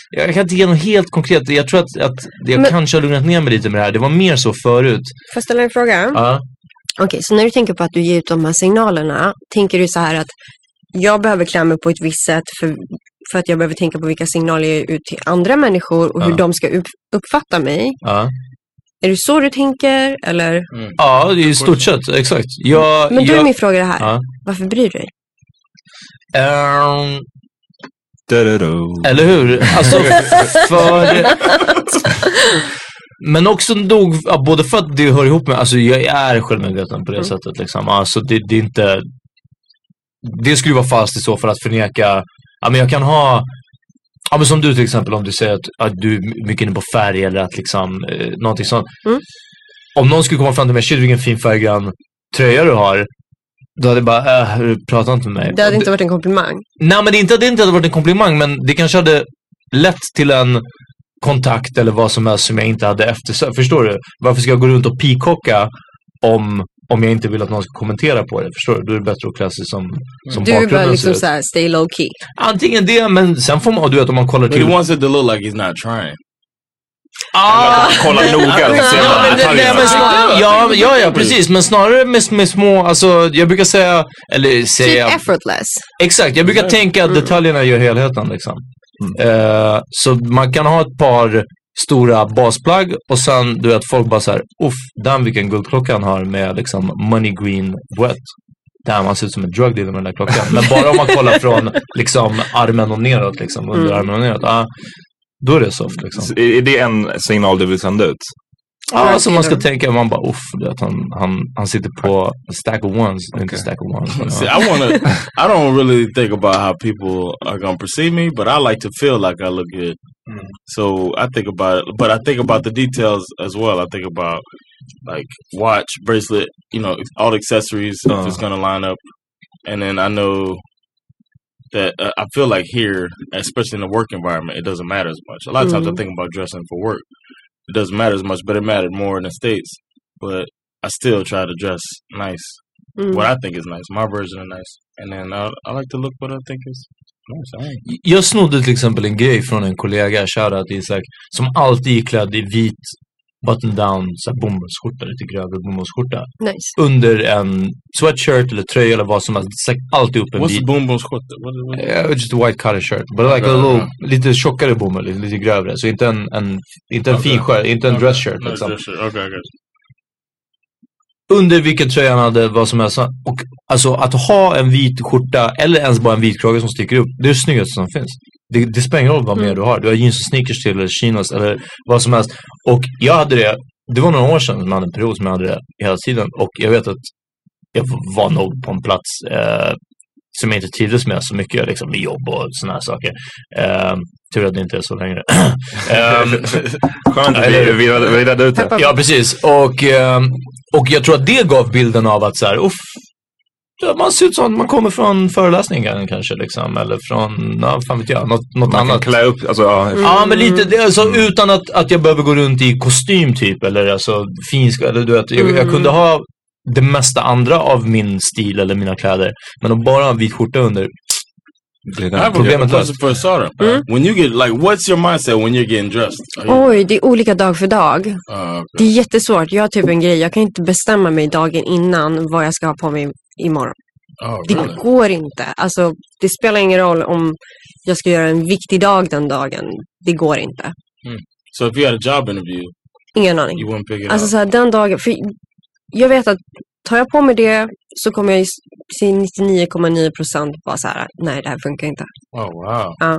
D: jag, jag kan inte ge något helt konkret. Jag tror att, att jag
E: Men-
D: kanske har lugnat ner mig lite med det här. Det var mer så förut.
E: Får jag ställa en fråga?
D: Ja.
E: Okej, så när du tänker på att du ger ut de här signalerna, tänker du så här att jag behöver klä mig på ett visst sätt för, för att jag behöver tänka på vilka signaler jag ger ut till andra människor och hur
D: Ja.
E: de ska upp, uppfatta mig?
D: Ja,
E: Är det så du tänker? Eller?
D: ja det är i stort sett. Exakt. Jag,
E: Men då är
D: jag,
E: min fråga det här.
D: Ja.
E: Varför bryr du dig?
D: ehm,
B: Da-da-do.
D: Eller hur? Alltså, för... Men också nog, ja, både för att det hör ihop med, alltså jag är självmedveten på
E: Mm.
D: det sättet liksom. Alltså det, det är inte, det skulle ju vara falskt i så fall att förneka, ja men jag kan ha, ja men som du till exempel om du säger att, att du är mycket inne på färg eller att liksom, eh, någonting sånt.
E: Mm.
D: Om någon skulle komma fram till mig, shit vilken fin färggrann tröja du har. Då hade jag bara, äh, prata inte med mig.
E: Det
D: Och
E: hade inte varit en komplimang.
D: Nej, men det är inte att det inte hade varit en komplimang, men det kanske hade lett till en kontakt eller vad som helst som jag inte hade eftersökt. Förstår du? Varför ska jag gå runt och pikocka om, om jag inte vill att någon ska kommentera på det? Förstår du? Då är det bättre att klä sig som, som
E: Du är bara
D: bakgrunden
E: liksom så
D: ser ut.
E: här, stay low key.
D: Antingen det, men sen får man, och du vet om man kollar
F: But he
D: till...
F: wants it to look like he's not trying.
D: Ah!
B: Kolla noga.
D: Ja,
B: se alla
D: men det- nej,
B: detaljerna.
D: men snar- ja, ja, ja, precis. Men snarare med, med små, alltså jag brukar säga, eller
E: Typ
D: säga...
E: effortless.
D: Exakt, jag brukar tänka att detaljerna gör helheten. Liksom. Eh, så man kan ha ett par stora basplagg och sen du vet folk bara så här, uff, damn vilken guldklocka han har med liksom money green wet. Damn, han ser ut som en drug dealer med den där klockan. Men bara om man kollar från liksom armen och neråt, liksom, under armen och neråt. ah, då är det soft liksom.
B: Så Är är det en signal du vill sända ut?
D: Ja,
E: Drug
D: alltså man ska
E: dealer.
D: tänka, man bara uff, du vet, han, han, han sitter på stack of ones, inte stack of ones. men,
F: See,
D: ja.
F: I want to. I don't really think about how people are gonna perceive me, but I like to feel like I look good. So I think about, but I think about the details as well. I think about like watch, bracelet, you know, all the accessories if it's gonna line up, and then I know that uh, I feel like here, especially in the work environment, it doesn't matter as much. A lot of times I
E: Mhm.
F: think about dressing for work. It doesn't matter as much, but it mattered more in the states. But I still try to dress nice
E: Mm.
F: what I think is nice. My version of nice. And then I, I like to look what I think is nice. I ain't.
D: Jag snodde till exempel en grej från en kollega, shoutout Isak, som alltid är klädd i vit button-down så här bomullsskjorta, lite grövre bomullsskjorta.
E: Nice.
D: Under en sweatshirt eller tröja eller vad som helst. Säkert Alltid upp en
F: What's
D: vit.
F: the boom boom squat? What, what,
D: Yeah, just a white collar shirt. But like a
F: Okay.
D: little, lite tjockare bomull, lite, lite grövre. Så inte en, en, inte en
F: Okay.
D: fin skär, inte en
F: Okay.
D: dress shirt
F: No,
D: liksom.
F: dress shirt. Okay, I got you.
D: Under vilken tröja han hade, vad som helst. Och alltså att ha en vit skjorta eller ens bara en vit krage som sticker upp, det är det snyggaste som finns. Det, det spelar ingen roll vad mer du har. Du har jeans och sneakers till eller chinos eller vad som helst. Och jag hade det, det var några år sedan som jag hade en period som jag hade det hela tiden. Och jag vet att jag var nog på en plats eh, som jag inte trivdes med så mycket, liksom med jobb och sådana här saker. Eh, tur att det inte är så längre. Ehm,
B: Skönt att vi, vi, vi redde ut det.
D: Ja, precis. Och, ehm, och jag tror att det gav bilden av att så här, uff, ja, man ser ut som man kommer från föreläsningen kanske, liksom, eller från, ja, fan vet jag, något, något
B: Man kan
D: annat.
B: klä upp, alltså ja,
D: Ja, men lite, det, alltså, utan att, att jag behöver gå runt i kostym typ, eller alltså finsk, eller du vet, jag, jag kunde ha det mesta andra av min stil eller mina kläder, men att bara ha en vit skjorta under,
F: I have a- a
D: Problemet
F: question for Asada.
E: Mm-hmm.
F: When you get like, what's your mindset when you're getting dressed? Are you,
E: Oj, det är olika dag för dag.
F: uh, okay.
E: Det är jättesvårt. Jag har typ en grej, jag kan inte bestämma mig dagen innan vad jag ska ha på mig imorgon.
F: Oh,
E: Det går inte. Alltså, det spelar ingen roll om jag ska göra en viktig dag den dagen. Det går inte.
F: So if you had a job interview,
E: Ingen aning.
F: you wouldn't pick it
E: Alltså
F: up.
E: så här, den dagen, för jag vet att tar jag på mig det så kommer jag se 99,9 procent bara så här, nej det här funkar inte.
F: Oh wow.
E: Uh.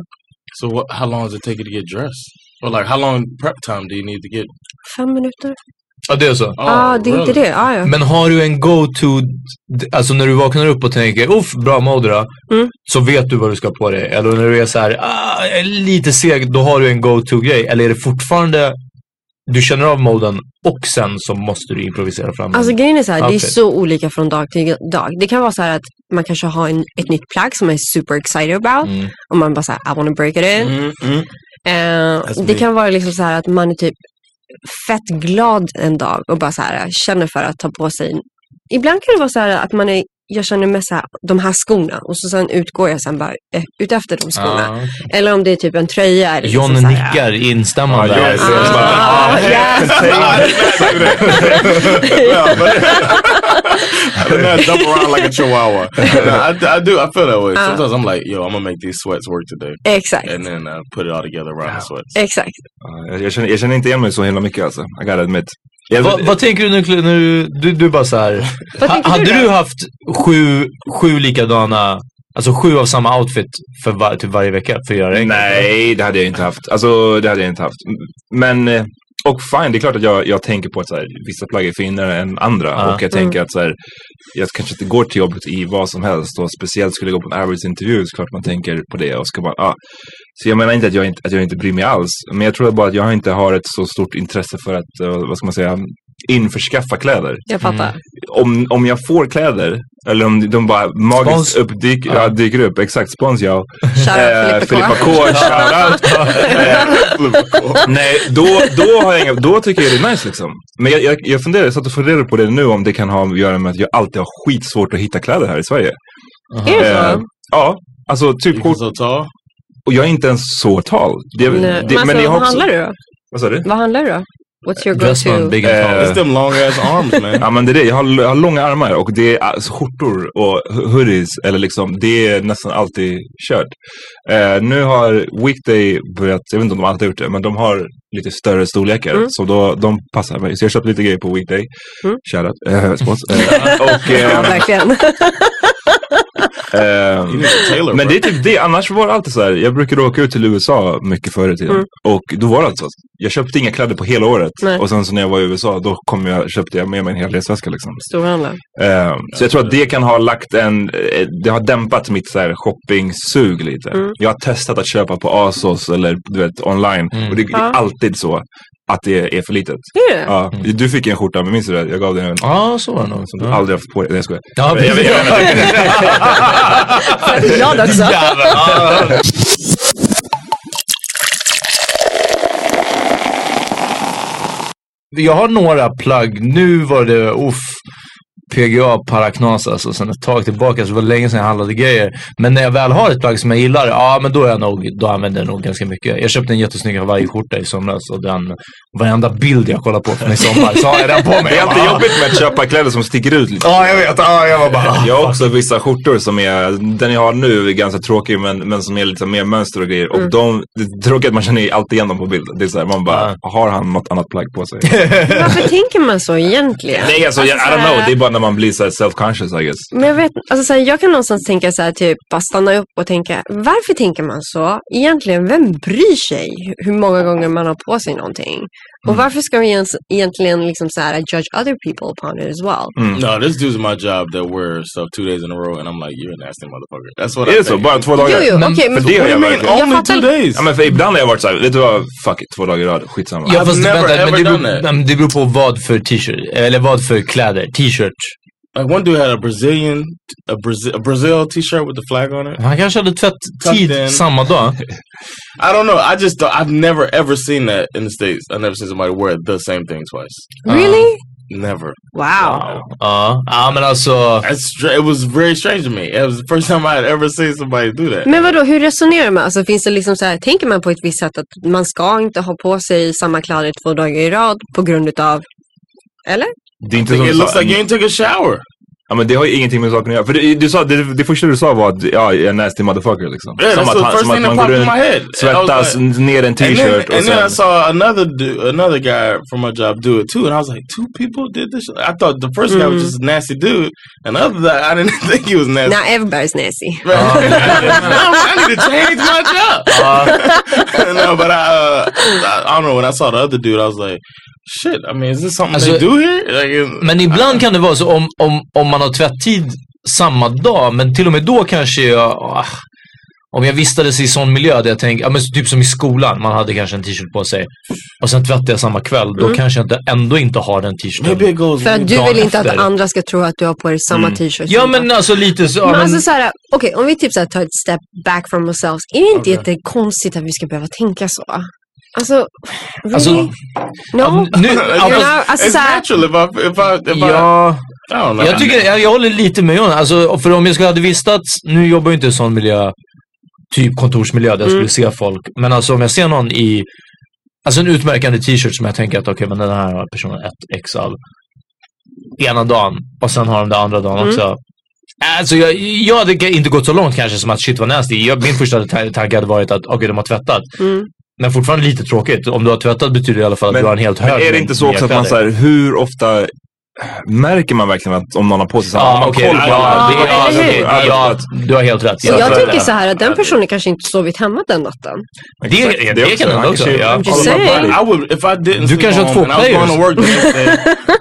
F: So what, how long does it take you to get dressed? Or like how long prep time do you need to get? Oh,
E: Fem minuter?
D: Ja, det är så.
E: Ja, ah, det är inte det. Ah, ja.
D: Men har du en go-to, alltså när du vaknar upp och tänker uff, bra mode då",
E: Mm.
D: Så vet du vad du ska på dig. Eller när du är så här, ah, jag är lite seg, då har du en go-to-grej. Eller är det fortfarande, du känner av moden och sen så måste du improvisera fram den?
E: Alltså grejen är så här, det är
D: Outfit.
E: så olika från dag till dag. Det kan vara så här att man kanske har en, ett nytt plagg som man är super excited about
D: Mm.
E: och man bara så här, I wanna break it in.
F: Mm-hmm.
E: Eh,
F: Mm. Alltså,
E: det
F: det-
E: kan vara liksom så här att man är typ fett glad en dag och bara så här känner för att ta på sig. Ibland kan det vara så här att man är, jag känner med så här, de här skorna och så sen utgår jag sen bara eh, ut efter de skorna.
D: Ah.
E: Eller om det är typ en tröja. Eller
D: John
E: liksom så här,
D: nickar instämmande.
B: Ja, jag ser.
E: Ah, ah, yes.
F: Yeah, but- I did not jump around like a chihuahua. No, I, I do. I feel that way. Sometimes I'm like, yo, I'm gonna make these sweats work today,
E: Exakt,
F: and then uh, put it all together around the sweats.
E: exakt.
B: Ja, Jag känner, jag känner inte igen mig så himla mycket alltså. I gotta admit. Jag,
D: Va, vad tänker du nu, när du, du, du bara så här.
E: Vad
D: ha,
E: tänker
D: hade
E: du då?
D: du haft sju, sju likadana, alltså sju av samma outfit för var, typ varje vecka för att göra det enkelt?
B: Nej, det hade jag inte haft. Alltså, det hade jag inte haft. Men, eh, och fine, det är klart att jag, jag tänker på att så här, vissa plagg är finare än andra.
D: Ja.
B: Och jag tänker att så här, jag kanske inte går till jobbet i vad som helst. Och speciellt skulle jag gå på en arbetsintervju så klart man tänker på det. Och ska bara, ah. Så jag menar inte att, jag inte att jag inte bryr mig alls. Men jag tror bara att jag inte har ett så stort intresse för att, eh, vad ska man säga, införskaffa kläder
E: Jag fattar.
B: om, om jag får kläder, eller om de bara magiskt
D: Spons.
B: uppdyk, ja. dyker upp, exakt, spons ja.
E: Shoutout
B: Eh,
E: Filippa
B: Filippa
E: K.
B: K, shoutout. Eh, Nej, då, då, har jag, inga- då tycker jag det är nice liksom. Men jag, jag, jag funderar, jag satt och funderade på det nu om det kan ha att göra med att jag alltid har skitsvårt att hitta kläder här i Sverige.
E: Är det
B: Eh,
E: så?
B: ja, alltså typ kort,
F: Because so tall.
B: och jag är inte ens så tal. Det,
E: Nej.
B: det,
E: Men alltså,
B: jag
E: vad
B: också-
E: handlar du då?
B: Vad sa du?
E: Vad handlar du då? What's your
D: Dress man
E: go-to?
D: big and tall.
B: Eh,
F: It's them long ass arms, man.
B: Ja men det är det, jag har, jag har långa armar och det är alltså, skjortor och hu- hoodies eller liksom, det är nästan alltid kört. Eh, nu har Weekday börjat, jag vet inte om de alltid har gjort det, men de har lite större storlekar så då, de passar mig. Så jag köpte lite grejer på Weekday.
E: Mm.
B: Shoutout, eh, spons. Eh, och,
E: Ja,
B: eh,
E: verkligen.
B: eh,
F: You need a tailor.
B: men
F: bro.
B: det är typ det, annars var det alltid så här. Jag brukade åka ut till USA mycket förr i tiden.
E: Mm.
B: Och då var det alltså, jag köpte inga kläder på hela året.
E: Nej.
B: Och sen så när jag var i USA, då kom jag, köpte jag med mig en hel resväska liksom.
E: Storhandlare.
B: Eh, Så jag tror att det kan ha lagt en, eh, det har dämpat mitt så här shoppingsug lite.
E: Mm.
B: Jag har testat att köpa på ASOS eller du vet online
D: Mm.
B: och det, det är
E: Ja.
B: alltid så att det är för litet.
E: Är det?
B: Ja,
D: Mm.
B: du fick en skjorta, men minns du det? Jag gav dig en
D: Ja,
F: Oh,
D: så var det nog.
B: som du
D: Ja.
B: aldrig har haft på dig. Nej, jag skojar.
D: Mm. Ja,
B: Jag vet- jag vet inte.
E: Jag är glad också.
D: Jävlar. Ja. Jag har några plagg. Nu var det uff, PGA paraknas alltså. Sen ett tag tillbaka så var det länge sedan jag handlade grejer. Men när jag väl har ett plagg som jag gillar, ja men då, är jag nog, då använder jag nog ganska mycket. Jag köpte en jättesnygg Hawaii-skjorta i somras och den, varenda bild jag kollar på från i sommar så har jag den på mig.
B: Det är
D: Jag
B: alltid
D: bara,
B: jobbigt med att köpa kläder som sticker ut lite.
D: Ja, jag vet. Ja, jag var bara... ah.
B: Jag har också vissa skjortor som är, den jag har nu är ganska tråkig men, men som är lite mer mönster och grejer.
E: Mm.
B: Och de, det är tråkigt att man känner alltid igen dem på bild. Det är så här, man bara, har han något annat plagg på sig?
E: Varför tänker man så egentligen?
B: Nej, alltså, jag, I
E: så
B: don't
E: här-
B: know. Det är bara när man blir så här self-conscious, I guess.
E: Men jag vet alltså så här, jag kan någonstans tänka så här, typ bara stanna upp och tänka, varför tänker man så? Egentligen, vem bryr sig hu- hur många gånger man har på sig någonting? Och
B: Mm.
E: varför ska vi ens, egentligen liksom så här, judge other people upon it as well?
B: Mm.
F: no, this dude's my job that wears stuff two days in a row, and I'm like, you're a nasty motherfucker. That's what
B: Är
F: I
B: det så?
F: think.
B: Bara två dagar?
E: Jo, jo,
D: Men-
E: okej, men
B: för det har
F: What do
B: jag
F: you mean?
B: verkligen.
E: Jag
F: Only
E: fattar-
F: two days?
B: Ja, men för ibland har jag varit så här, vet du vad? Fuck it, två dagar i rad. Skitsamma.
D: Ja,
F: I've
D: fast
F: never
D: vänta, men
F: ever
D: det beror,
F: done that.
D: nej, men det beror på vad för t-shirt, eller vad för kläder. T-shirt.
F: Like one dude had a Brazilian, a Brazil, a Brazil T-shirt with the flag on it.
D: Han kanske hade tvätt
F: Tucked
D: tid
F: in.
D: samma dag.
F: I don't know. I just don't, I've never ever seen that in the states. I've never seen somebody wear the same thing twice.
E: Really?
F: Never.
E: Wow.
D: Ja, ja men alltså.
F: That's str- it was very strange to me. It was the first time I had ever seen somebody do that.
E: Men vadå, hur resonerar man? Alltså, finns det liksom så här, tänker man på ett visst sätt att man ska inte ha på sig samma kläder två dagar i rad på grund utav, eller?
B: Det är inte
F: It
B: som
F: looks like you ain't took a shower.
B: Ja men det har ju ingenting med saken att göra. För det, du sa, det, det första du sa var att ja, jag är nasty motherfucker liksom.
F: Yeah, that's the first thing that popped in my head. I was
B: svettas
F: like-
B: ner en
F: And then,
B: t-shirt och
F: and then I
B: sen...
F: saw another du- another guy from my job do it too, and I was like, two people did this. I thought the first guy was just a nasty dude, and the other guy, I didn't think he was nasty.
E: Now everybody's nasty.
F: Right. I need to change my job. no, but I, uh, I, I don't know. When I saw the other dude, I was like, shit. I mean, is this something
D: Alltså-
F: they do here? Like, is-
D: Men ibland kan det vara så om, om, om man har tvätttid samma dag, men till och med då kanske jag... ah, om jag vistades i sån miljö där jag tänkte, ja, men så typ som i skolan, man hade kanske en t-shirt på sig och sen tvättade jag samma kväll, då
E: Mm.
D: kanske jag inte, ändå inte har den t-shirten.
F: maybe it goes.
E: För att du
D: Mm, Dagen
E: vill inte att
D: efter.
E: andra ska tro att du har på dig samma t-shirt.
D: Ja
E: som
D: men alltså lite så, ja,
E: Men
D: men,
E: alltså så här, okej om vi typ så här tar ett step back from ourselves. Är det inte jättekonstigt att vi ska behöva tänka så? Alltså, really?
D: Alltså,
E: no?
D: nu, ja,
E: you
D: men-
E: know, alltså
F: It's
E: så här,
F: natural if I if I if
D: ja,
F: I, I don't know.
D: jag, tycker, jag, jag håller lite med honom. Alltså, för om jag skulle hade vistats, nu jobbar jag inte i en sån miljö, typ kontorsmiljö där jag
E: Mm.
D: skulle se folk. Men alltså om jag ser någon i, alltså en utmärkande t-shirt som jag tänker att okej men den här har personen ett ex av ena dagen och sen har de det andra
E: Mm.
D: dagen också. Alltså jag, jag hade inte gått så långt kanske som att shit vad nasty. Jag, min första ta- tanke hade varit att okej de har tvättat.
E: Mm.
D: Men fortfarande lite tråkigt. Om du har tvättat betyder det i alla fall att
B: Men-
D: du har en helt hög
B: Men är det inte så också att man
D: kläder.
B: såhär, hur ofta märker man verkligen att om någon har på sig samma?
D: Ja,
B: Har man
D: okej.
B: koll på
D: Ja,
B: alla?
D: det- ja,
E: eller
D: okej.
E: hur?
B: alltså,
D: Ja, du har helt rätt.
E: så jag
D: tror
E: tänker
D: det.
E: så här att den personen kanske inte sovit hemma den natten.
D: Det,
B: Det
D: det
B: också,
D: kan hända
B: han
D: också.
B: kanske-
D: Ja.
E: I'm just
F: All of my
E: saying.
F: body. I would if I didn't.
D: Du
F: sleep
D: kanske har
F: home
D: två
F: and I was going to
D: players.
F: work the next day.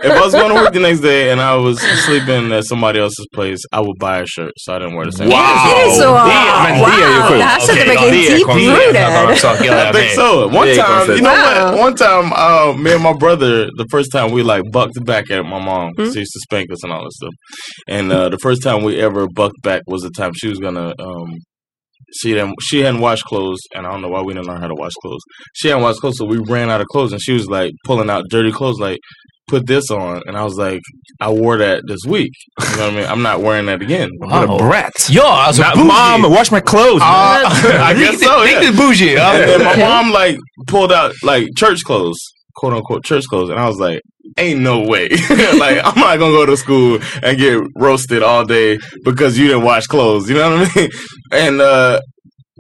F: if I was going to work the next day and I was sleeping at somebody else's place, I would buy a shirt so I didn't wear the same.
E: Är det så?
B: Det- men det är
E: wow,
B: ju sjukt.
E: det här sätter
D: Okej,
E: verkligen
B: det är
E: deep
B: konstigt.
D: Det är en helt annan
E: rooted.
D: sak. Ja,
F: I
D: jag
F: think
D: vet.
F: so. One
B: Big
F: time,
B: concept.
F: you know
E: Wow.
F: what? One time, uh, me and my brother, the first time we like bucked back at my mom. She used to spank us and all that stuff. And uh, the first time we ever bucked back was the time she was gonna. Um, she didn't. She hadn't washed clothes, and I don't know why we didn't learn how to wash clothes. She hadn't washed clothes, so we ran out of clothes, and she was like pulling out dirty clothes, like put this on, and I was like, I wore that this week. You know what I mean? I'm not wearing that again.
D: Wow.
B: Brat!
D: Ja, alltså bougie.
B: Mom, uh, wash my clothes!
F: I guess so. Yeah.
D: Riktigt bougie. Ja.
F: And then my mom like pulled out like church clothes, quote unquote church clothes, and I was like, "Ain't no way! like I'm not gonna go to school and get roasted all day because you didn't wash clothes." You know what I mean? And uh,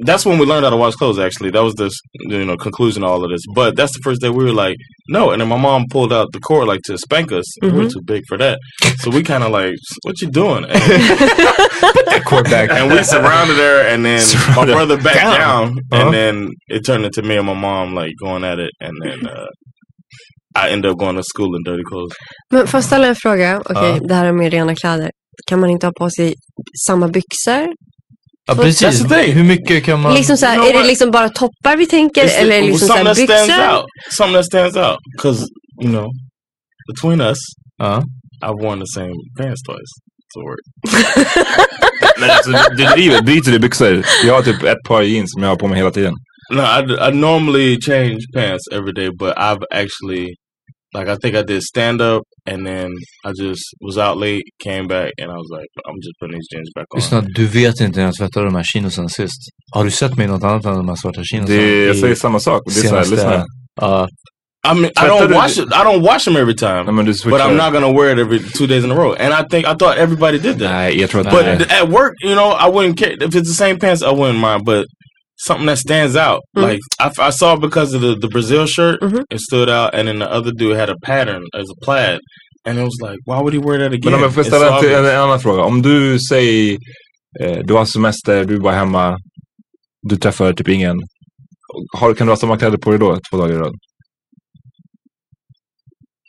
F: that's when we learned how to wash clothes. Actually, that was the you know conclusion to all of this. But that's the first day we were like, "No!" And then my mom pulled out the cord like to spank us. and We were too big for that, so we kind of like, "What you doing?" And- and we surrounded her, and then my brother backed down, and then it turned into me and my mom like going at it, and then uh, I ended up going to school in dirty clothes.
E: Men får jag ställa en fråga? Okej, det här är med rena kläder. Kan man inte ha på sig samma byxor? Alltså,
D: Ja, precis.
F: That's the thing.
D: Hur mycket kan man...
E: Liksom så här,
F: know
E: är det
F: what?
E: liksom bara toppar vi tänker
F: It's-
E: eller
F: it was
E: liksom så
F: something
E: här
F: that stands
E: byxor?
F: out. Something that stands out because you know between us,
D: Ja.
F: I've worn the same pants twice to work.
B: Men alltså, du driver, byter du byxor? Jag har typ ett par jeans som jag har på mig hela tiden.
F: No, I, I normally change pants every day, but I've actually, like, I think I did stand up and then I just was out late, came back, and I was like, I'm just putting these jeans back on.
D: Lyssna, du vet inte när jag tvättade de här chinosen sist. Har du sett mig i något annat än de här svarta chinosen?
B: Det, jag
D: I
B: säger samma sak. Det är såhär,
D: senaste-
B: lyssna. här.
D: Ja.
F: I mean, I
B: I thought
F: don't
B: it-
F: wash it. I don't wash them every time,
B: Nej, men du
F: but
B: switchar.
F: I'm not gonna wear it every two days in a row. And I think I thought everybody did that.
B: Nej, jag tror att...
F: But
B: nej.
F: th- at work, you know, I wouldn't care if it's the same pants. I wouldn't mind, but something that stands out, like I, f- I saw it because of the, the Brazil shirt, it stood out, and then the other dude had a pattern as a plaid, and it was like, why would he wear that again?
B: Men om jag får
F: It's
B: ställa en, till-
F: obvious.
B: en, en annan fråga. Om du säger, eh, du har semester, du är bara hemma, du träffar typ ingen. Har, kan du ha samma kläder på dig då två dagar i rad?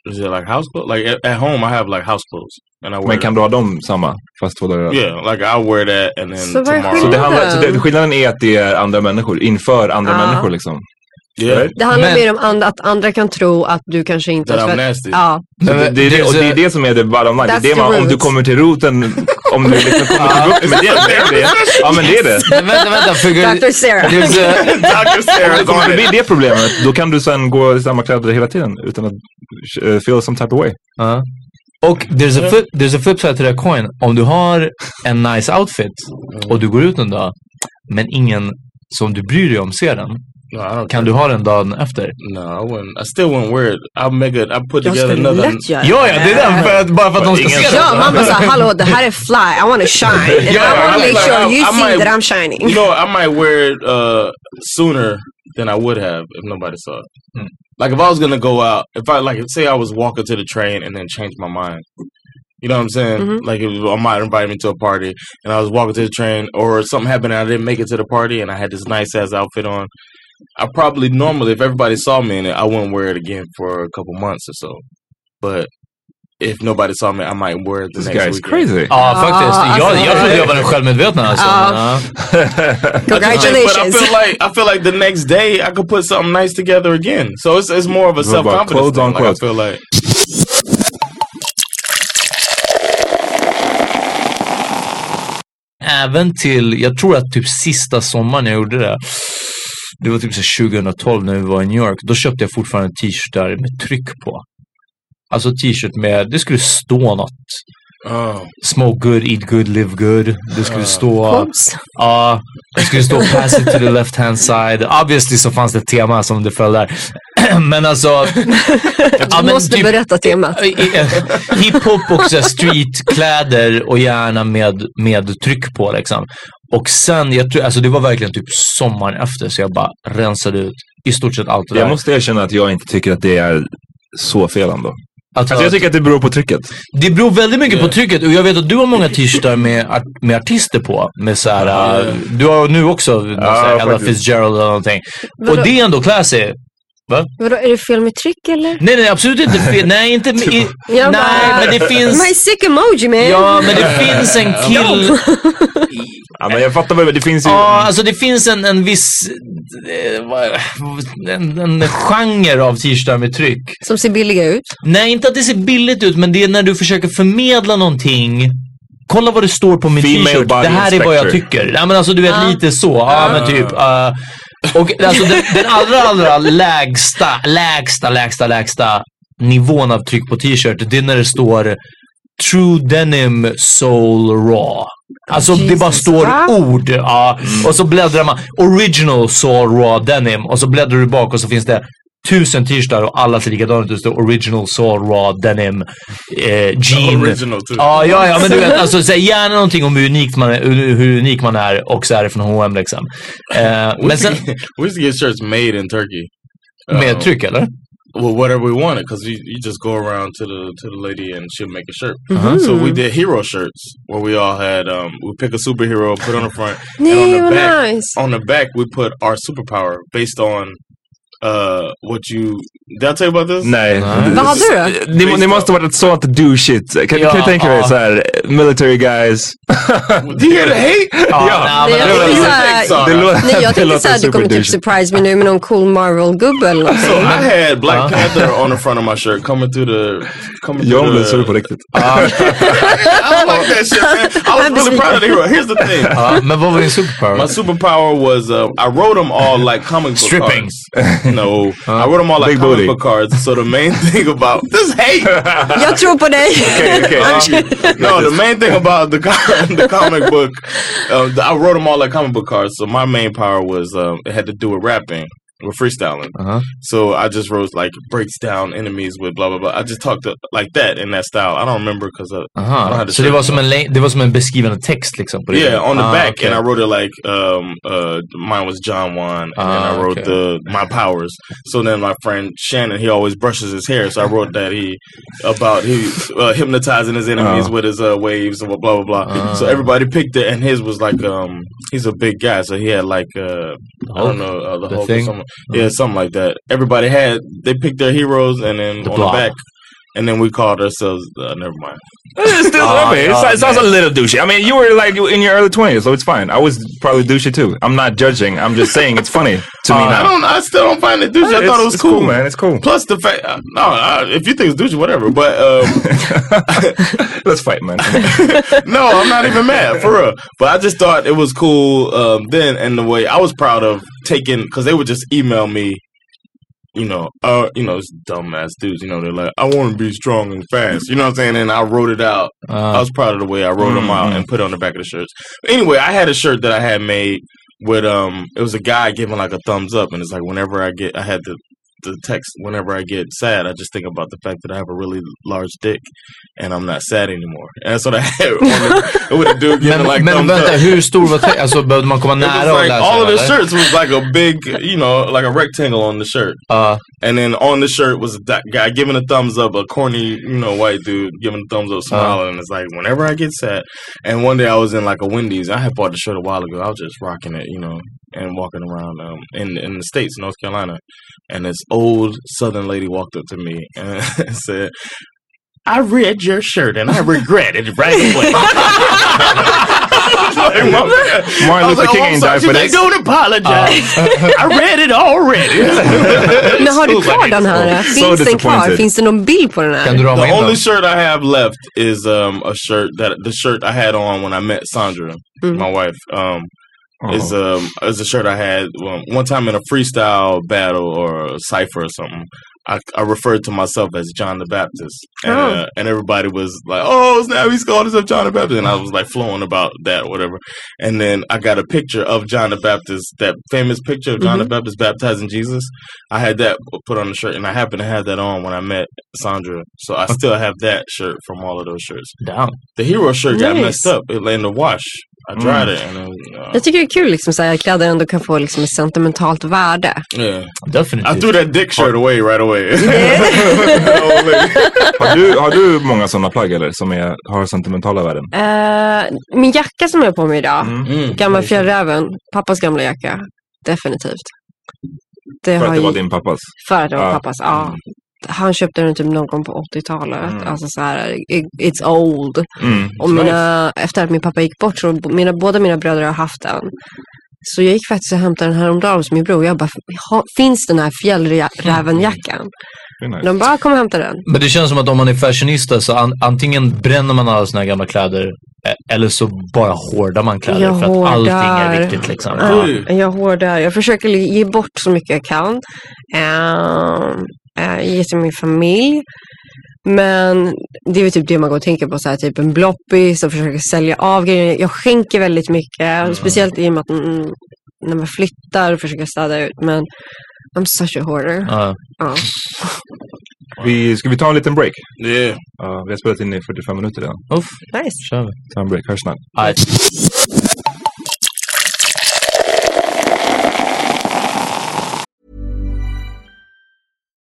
F: Is it like house clothes? Like at, at home, I have like house clothes, and I wear.
B: Men kan du ha dem samma, fast två dagar i rad?
F: that. Yeah, like I wear that, and then
E: So very
F: tomorrow.
B: Så, det
E: skillnad.
B: handlar, så det, skillnaden är att det är andra människor, inför andra
E: Ja.
B: människor liksom.
F: yeah,
B: Right?
E: Det handlar
D: Men-
E: mer om and- att andra kan tro att du kanske inte
F: that I'm
E: tvätt-
F: nasty.
E: Ja,
B: Så
D: Men
B: det, det, är det, och det är det som är det bottom line. Det
E: That's
B: är det
E: the
B: man, om du
E: root.
B: kommer till roten, om du liksom kommer till roten med det, det är det. Ja men det är det.
D: Men vänta, vänta. För
E: Dr. Sarah.
D: There's a,
F: Dr. Sarah,
B: Kommer du förbi det problemet, då kan du sen gå i samma kläder hela tiden utan att eh, feel some type of way.
D: Ja. Och there's a, flip, there's a flip side till det här coin. Om du har en nice outfit och du går ut en dag, men ingen som du bryr dig om ser den,
F: No, I don't.
D: Kan du ha den dagen efter?
F: No, I wouldn't. I still wouldn't wear it. I'll make it. I put
G: Jag
F: together
G: skulle
F: another.
G: lätt göra
D: Ja, ja, det är den för att, bara för att de ska
F: Ingen-
D: se
E: Ja,
D: den.
E: man bara såhär, hallå det här är fly, I wanna shine. And
F: Yeah,
E: I wanna
F: I'm
E: make
F: like,
E: sure
F: I-
E: you
F: I
E: see
F: might-
E: that I'm shining.
F: You know, I might wear it uh, sooner than I would have if nobody saw it.
B: Hmm.
F: Like if I was gonna go out, if I like, say I was walking to the train and then changed my mind. You know what I'm saying? Like if I might invite me to a party, and I was walking to the train, or something happened and I didn't make it to the party, and I had this nice ass outfit on. I probably normally, if everybody saw me in it, I wouldn't wear it again for a couple months or so. But if nobody saw me, I might wear it the
B: This
F: next
B: guy is
F: weekend.
B: crazy.
D: Ja, faktiskt. Jag, jag
E: alltså-
D: trodde jag var den självmedvetna alltså.
E: Ja.
D: Ja.
F: But I
E: Congratulations.
F: feel like I feel like the next day I could put something nice together again. So it's it's more of a
B: What about
F: self confidence.
B: clothes on
F: Thing. Like, I
B: clothes?
F: feel like
D: Även till, jag tror att typ sista sommaren jag gjorde det. Det var typ så här 2012 när vi var i New York. Då köpte jag fortfarande t-shirtar med tryck på. Alltså t-shirt med, det skulle stå något.
F: oh,
D: Smoke good, eat good, live good. Det skulle stå...
E: Oops.
D: Ja, det skulle stå pass it to the left hand side. Obviously så fanns det ett tema som det föll där. men alltså... ja,
E: Du
D: men
E: måste
D: typ-
E: berätta temat.
D: I- i- eh, Hiphop och så här streetkläder och gärna med, med tryck på liksom. Och sen, jag tror, alltså det var verkligen typ sommaren efter så jag bara rensade ut i stort sett allt det där.
B: Jag måste erkänna att jag inte tycker att det är så fel ändå.
D: Att-
B: Alltså jag tycker att det beror på trycket.
D: Det beror väldigt mycket på trycket och jag vet att du har många t-shirtar med, art- med artister på. Med så här, eh, Du har nu också någon så här
B: Ja,
D: Ella
B: faktiskt.
D: Fitzgerald eller någonting.
E: Vadå?
D: Och det är ändå classy.
E: Vadå, är det fel med tryck eller?
D: Nej, nej, absolut inte fel. Nej, inte... med- I, nej,
E: Jag bara-
D: men det
E: My
D: finns...
E: sick emoji man!
D: Ja, men det finns en kill...
B: Ja, men jag fattar väl, det finns ju...
D: Ja, alltså det finns en, en viss... eh, vad- En, en genre av t-shirtar med tryck.
E: Som ser billiga ut.
D: Nej, inte att det ser billigt ut, men det är när du försöker förmedla någonting. Kolla vad det står på min
B: Female
D: t-shirt. Det
B: body
D: här är vad jag
B: inspector.
D: tycker. Nej, men alltså du vet lite så. Ja, men typ. eh, och alltså den, den allra, allra lägsta, lägsta, lägsta, lägsta nivån av tryck på t-shirt, det är när det står True Denim Soul Raw. Alltså det bara
E: Jesus,
D: står
E: va?
D: ord. Ja.
F: Mm.
D: Och så bläddrar man. Original Soul Raw Denim. Och så bläddrar du bak och så finns det tusen t-shirtar och alla ser likadana ut. Det står Original Soul Raw Denim eh, Jean.
F: original typ. too.
D: Ja, ja, ja, men du vet, alltså, säg gärna någonting om hur unik man är, hur hur unik man är och så är det från H&M liksom. Eh,
F: we,
D: men sen,
F: used to get, we used to get shirts made in Turkey. Um,
D: med tryck eller?
F: Well, whatever we wanted, because you, you just go around to the to the lady and she'll make a shirt.
E: Uh-huh.
F: So
E: Mm-hmm.
F: we did hero shirts where we all had um, we pick a superhero, put on the front, and on
E: Nej,
F: the
E: vad
F: back,
E: nice.
F: on the back we put our superpower based on uh, what you. Did I tell you about this?
B: Nej.
E: Vad hade du då?
B: Ni, ni måste ha varit ett sånt douchigt. Kan,
D: Ja,
B: kan du tänka dig
D: ja.
B: så här, military guys.
F: Do you hear the hate?
D: Ja, men,
E: Nej, jag
B: det
E: tänkte
B: var-
E: såhär,
B: Det låter,
E: nej, jag
B: det
E: tänkte
B: låter
E: såhär du kommer typ
B: superdouchigt.
E: surprise me nu med någon cool Marvel-gubbe eller
F: So
E: någonting.
F: I had Black
D: Huh?
F: Panther on the front of my shirt coming through the coming through
B: Jag blev sur på
F: the,
B: riktigt.
F: I like that shit, man. I was really proud of the hero. Here's the thing.
D: ja, men vad var din superpower?
F: My superpower was uh, I wrote them all like comic book
D: Stripping.
F: cards. No, I wrote them all like
B: Big
F: comic
B: booty.
F: book cards. So the main thing about this hate,
E: Jag tror på dig!
B: Okej, okej.
F: no, the main thing about the com- the comic book, uh, the- I wrote them all like comic book cards. So my main power was um, it had to do with rapping. With freestyling,
D: Uh-huh.
F: so I just wrote like breaks down enemies with blah blah blah. I just talked uh, like that in that style. I don't remember because I, I don't
D: Aha,
F: have the
D: så det
F: shirt.
D: var, som en, lä- det var som en beskrivande text liksom? På det?
F: Yeah, on the
D: Ah,
F: back,
D: okej.
F: and I wrote it like um uh mine was John Wan, and then
D: Ah,
F: I wrote
D: okay.
F: the my powers. So then my friend Shannon, he always brushes his hair, so I wrote that he about he uh, hypnotizing his enemies with his uh, waves and blah blah blah. So everybody picked it, and his was like um he's a big guy, so he had like uh I
D: Hulk?
F: don't know uh, the,
D: The
F: Hulk
D: Thing?
F: or something. Yeah, something like that. Everybody had they picked their heroes, and then
D: The
F: on
D: Blob.
F: the back. And then we called ourselves. Uh, never mind.
B: It's still,
D: Ah,
B: I mean, it's-
D: God,
B: it sounds a
D: man.
B: little douchey. I mean, you were like in your early 20s, so it's fine. I was probably douchey too. I'm not judging. I'm just saying it's funny to me
F: Uh, I
B: now.
F: don't. I still don't find it douchey. I thought
B: Ah. It's-
F: it was
B: it's
F: cool,
B: man. It's cool.
F: Plus the fact, uh, no, uh, if you think it's douchey, whatever. But um,
B: Let's fight, man. Uh-huh.
F: no, I'm not even mad for real. But I just thought it was cool um, then, and the way I was proud of taking because they would just email me, you know, uh, you know, it's dumbass dudes. You know, they're like, I want to be strong and fast. You know what I'm saying? And I wrote it out. I was proud of the way I wrote them out and put it on the back of the shirts. Anyway, I had a shirt that I had made with um it was a guy giving like a thumbs up and it's like whenever I get I had the the text whenever I get sad I just think about the fact that I have a really large dick and I'm not sad anymore. And that's what I had on the, with a dude giving
D: Men,
F: like
D: men
F: thumbs
D: vänta,
F: up.
D: hur stor var te- Alltså behövde man komma
F: It was
D: nära och
F: like
D: läsa?
F: all of the
D: eller?
F: shirts was like a big, you know, like a rectangle on the shirt.
D: Ja.
F: And then on the shirt was that guy giving a thumbs up, a corny, you know, white dude giving a thumbs up, smiling. and it's like, whenever I get sad. And one day I was in like a Wendy's. I had bought the shirt a while ago. I was just rocking it, you know, and walking around um, in, in the States, North Carolina. And this old Southern lady walked up to me and said, I read your shirt and I regret it right away. I was like, "Mom, I
B: Martin
F: was
B: Luther
F: like,
B: King
F: oh, I'm
B: ain't
F: sorry."
B: died
F: She's
B: for
F: like,
B: this.
F: Don't apologize. I read it already.
E: Men har du
F: School's
E: kvar
F: like,
E: den här?
B: so
E: Finns den kvar?
B: disappointed.
E: Finns det någon bild på den här?
D: Kan du rama
F: The
D: in
F: only
D: dem?
F: shirt I have left is um, a shirt that the shirt I had on when I met Sandra, my wife. Um, Is um is a shirt I had um, one time in a freestyle battle or a cipher or something. I, I referred to myself as John the Baptist, and, uh, and everybody was like, "Oh, snap! He's called himself John the Baptist," and I was like flowing about that, or whatever. And then I got a picture of John the Baptist, that famous picture of John the Baptist baptizing Jesus. I had that put on the shirt, and I happened to have that on when I met Sandra. So I still have that shirt from all of those shirts.
D: Damn.
F: The hero shirt got
E: Nice.
F: messed up. It lay in the wash. I dried it, and then, uh,
E: Jag tycker det är kul liksom, så här, att kläder ändå kan få liksom, ett sentimentalt värde.
F: yeah, I
D: Definitivt.
F: threw that dick shirt away right away.
B: Har du, har du många sådana plagg eller som är, har sentimentala värden?
E: Eh, min jacka som jag har på mig idag,
F: Mm.
E: gamla fjällräven, pappas gamla jacka. Definitivt. Det
B: För att
E: har
B: det var
E: ju
B: din pappas?
E: För att det var
B: Ja. Mm.
E: pappas, ja. Han köpte den typ någon gång på 80-talet. Alltså så här, it, it's old.
B: Mm.
E: Och mina, efter att min pappa gick bort så mina, båda mina bröder har haft den. Så jag gick faktiskt och hämtade den här om dagen hos min bror. Jag bara, "Ha- finns den här
B: Mm.
E: fjällrävenjackan?
B: Det är nice.
E: De bara, kom och hämta den.
D: Men det känns som att om man är fashionista så an, antingen bränner man alla sina gamla kläder eh, eller så bara hoardar man kläder
E: Jag
D: för att allting
E: hoardar.
D: är viktigt liksom. Ja.
E: Mm. Jag hårdar. Jag försöker li- ge bort så mycket jag kan. Ehm, eh, ge till min familj. Men det är väl typ det man går och tänker på, så här, typ en bloppis och försöker sälja av grejer. Jag skänker väldigt mycket, speciellt i och med att mm, när man flyttar och försöker städa ut. Men I'm such a hoarder.
D: Ja.
E: Ja.
B: Vi, ska vi ta en liten break?
F: yeah.
B: Ja, vi har spelat in i 45 minuter redan.
D: Uff,
E: Nice.
D: kör vi.
B: Ta en break, hörs snart.
D: Aj.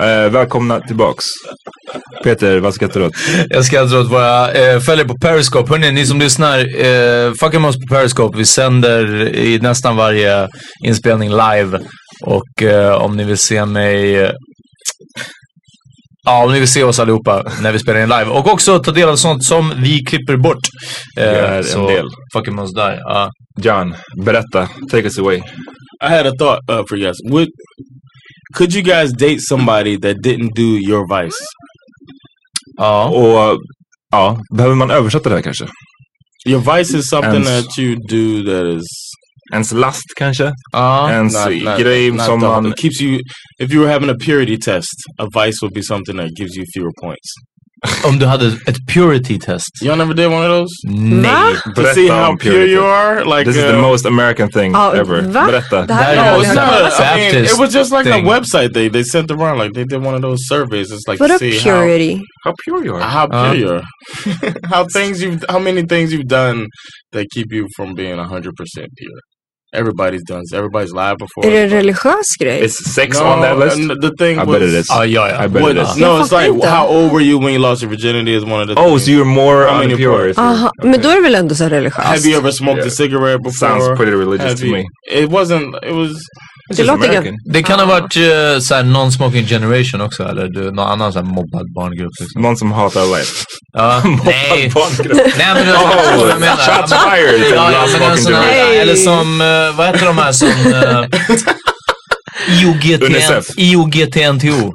B: Eh, välkomna tillbaks. Peter, vad skrattar du åt?
D: Jag skrattar åt våra eh, följare på Periscope. Hörrni, ni som lyssnar, eh, fucka med oss på Periscope. Vi sänder i nästan varje inspelning live. Och eh, om ni vill se mig... eh, Ja, om ni vill se oss allihopa när vi spelar in live. Och också ta del av sånt som vi klipper bort. Eh,
B: är en
D: så
B: del.
D: fucka med oss där. Ja.
B: John, berätta. Take us away.
F: I had a thought uh, for you guys. Would could you guys date somebody that didn't do your vice?
D: ja.
B: Och ja, behöver man översätta det här kanske?
F: Your vice is something
C: Ens-
F: that you do that is
B: Ens lust kanske?
D: Ja.
B: Ens grej
F: not
B: som
F: double.
B: man...
F: It keeps you. If you were having a purity test, a vice would be something that gives you fewer points.
D: Om du hade ett purity test.
F: Y'all never did one of those
D: Nej.
F: to
B: Berätta
F: see how
B: om
F: pure
B: purity.
F: you are. Like
B: This is
F: uh,
B: the most American thing
D: Ah,
E: Ja,
B: ever.
E: va?
B: Berätta.
E: Det här
D: Där
E: är
F: No,
D: är
F: it's
D: Baptist
F: not. I mean, it was just like
D: thing.
F: a website they they sent around. Like they did one of those surveys. It's like
E: What
F: to
E: a
F: see
E: purity.
B: How pure you
F: how
B: are.
F: how pure
D: Uh.
F: you are, how things you how many things you've done that keep you from being hundred percent pure. Everybody's done. Everybody's lied before.
E: Är det en religiös grej?
B: Is sex on that list?
F: and the thing
B: I
F: was,
B: bet it is.
D: Ja, ja, ja.
B: I bet it
F: What-
B: is.
F: no,
E: Jag
F: it's
E: fattar
F: like
E: inte.
F: how old were you when you lost your virginity is one of the.
B: Oh,
F: things.
B: so you're more
F: How many
B: unpure.
E: Aha, men då är det väl ändå så här
F: Have
E: religiöst?
F: you ever smoked
B: Yeah.
F: a cigarette before?
B: Sounds pretty religious
F: Have
B: to
F: you-
B: me.
F: It wasn't. It was.
B: This
E: Det
B: is
E: låter
B: American.
D: Det kan ha varit uh, såhär non-smoking generation också eller du, någon annan såhär mobbad barngrupp liksom.
B: Någon som hatar life.
D: Ja, nej.
B: Barngrupp.
D: Nej men du
B: Oh,
D: fattar vad jag menar.
B: shots
D: Ja, men-
B: fired.
D: Ja, ja,
B: Last
D: men alltså, en
B: fucking
D: sån här,
B: generation.
D: eller som, eh, vad heter de här som... Uh, IOGTN,
B: UNICEF.
D: IOGTNTO.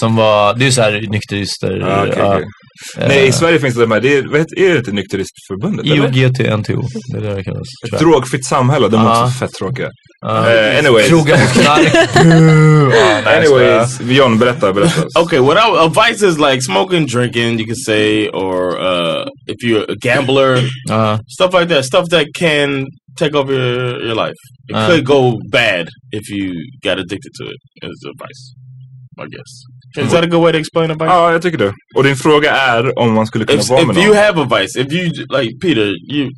D: Som var, det är ju såhär nykterister.
B: Ah, okej,
D: ja.
B: okej. Nej, i Sverige finns det de här. Det är, vad heter- är det inte Nykteristförbundet? eller?
D: IOGTNTO, det är det det kallas. tror
B: Ett
D: jag.
B: drogfritt samhälle, de är
D: Ja.
B: också fett tråkiga.
D: Ja.
B: Eh, anyways.
D: Ah. Krogar och knark.
B: anyways, John, berätta, berätta.
F: Okay, what I, a vice is like smoking, drinking, you could say, or uh, if you're a gambler,
D: Ja.
F: stuff like that. Stuff that can take over your, your life. It
D: Uh.
F: could go bad if you got addicted to it. Is a vice, I guess. Is that a good way to explain a vice?
B: Ja, jag tycker det. Och din fråga är om man skulle kunna
F: if
B: vara med
F: if you
B: någon.
F: have a vice, if you like Peter, you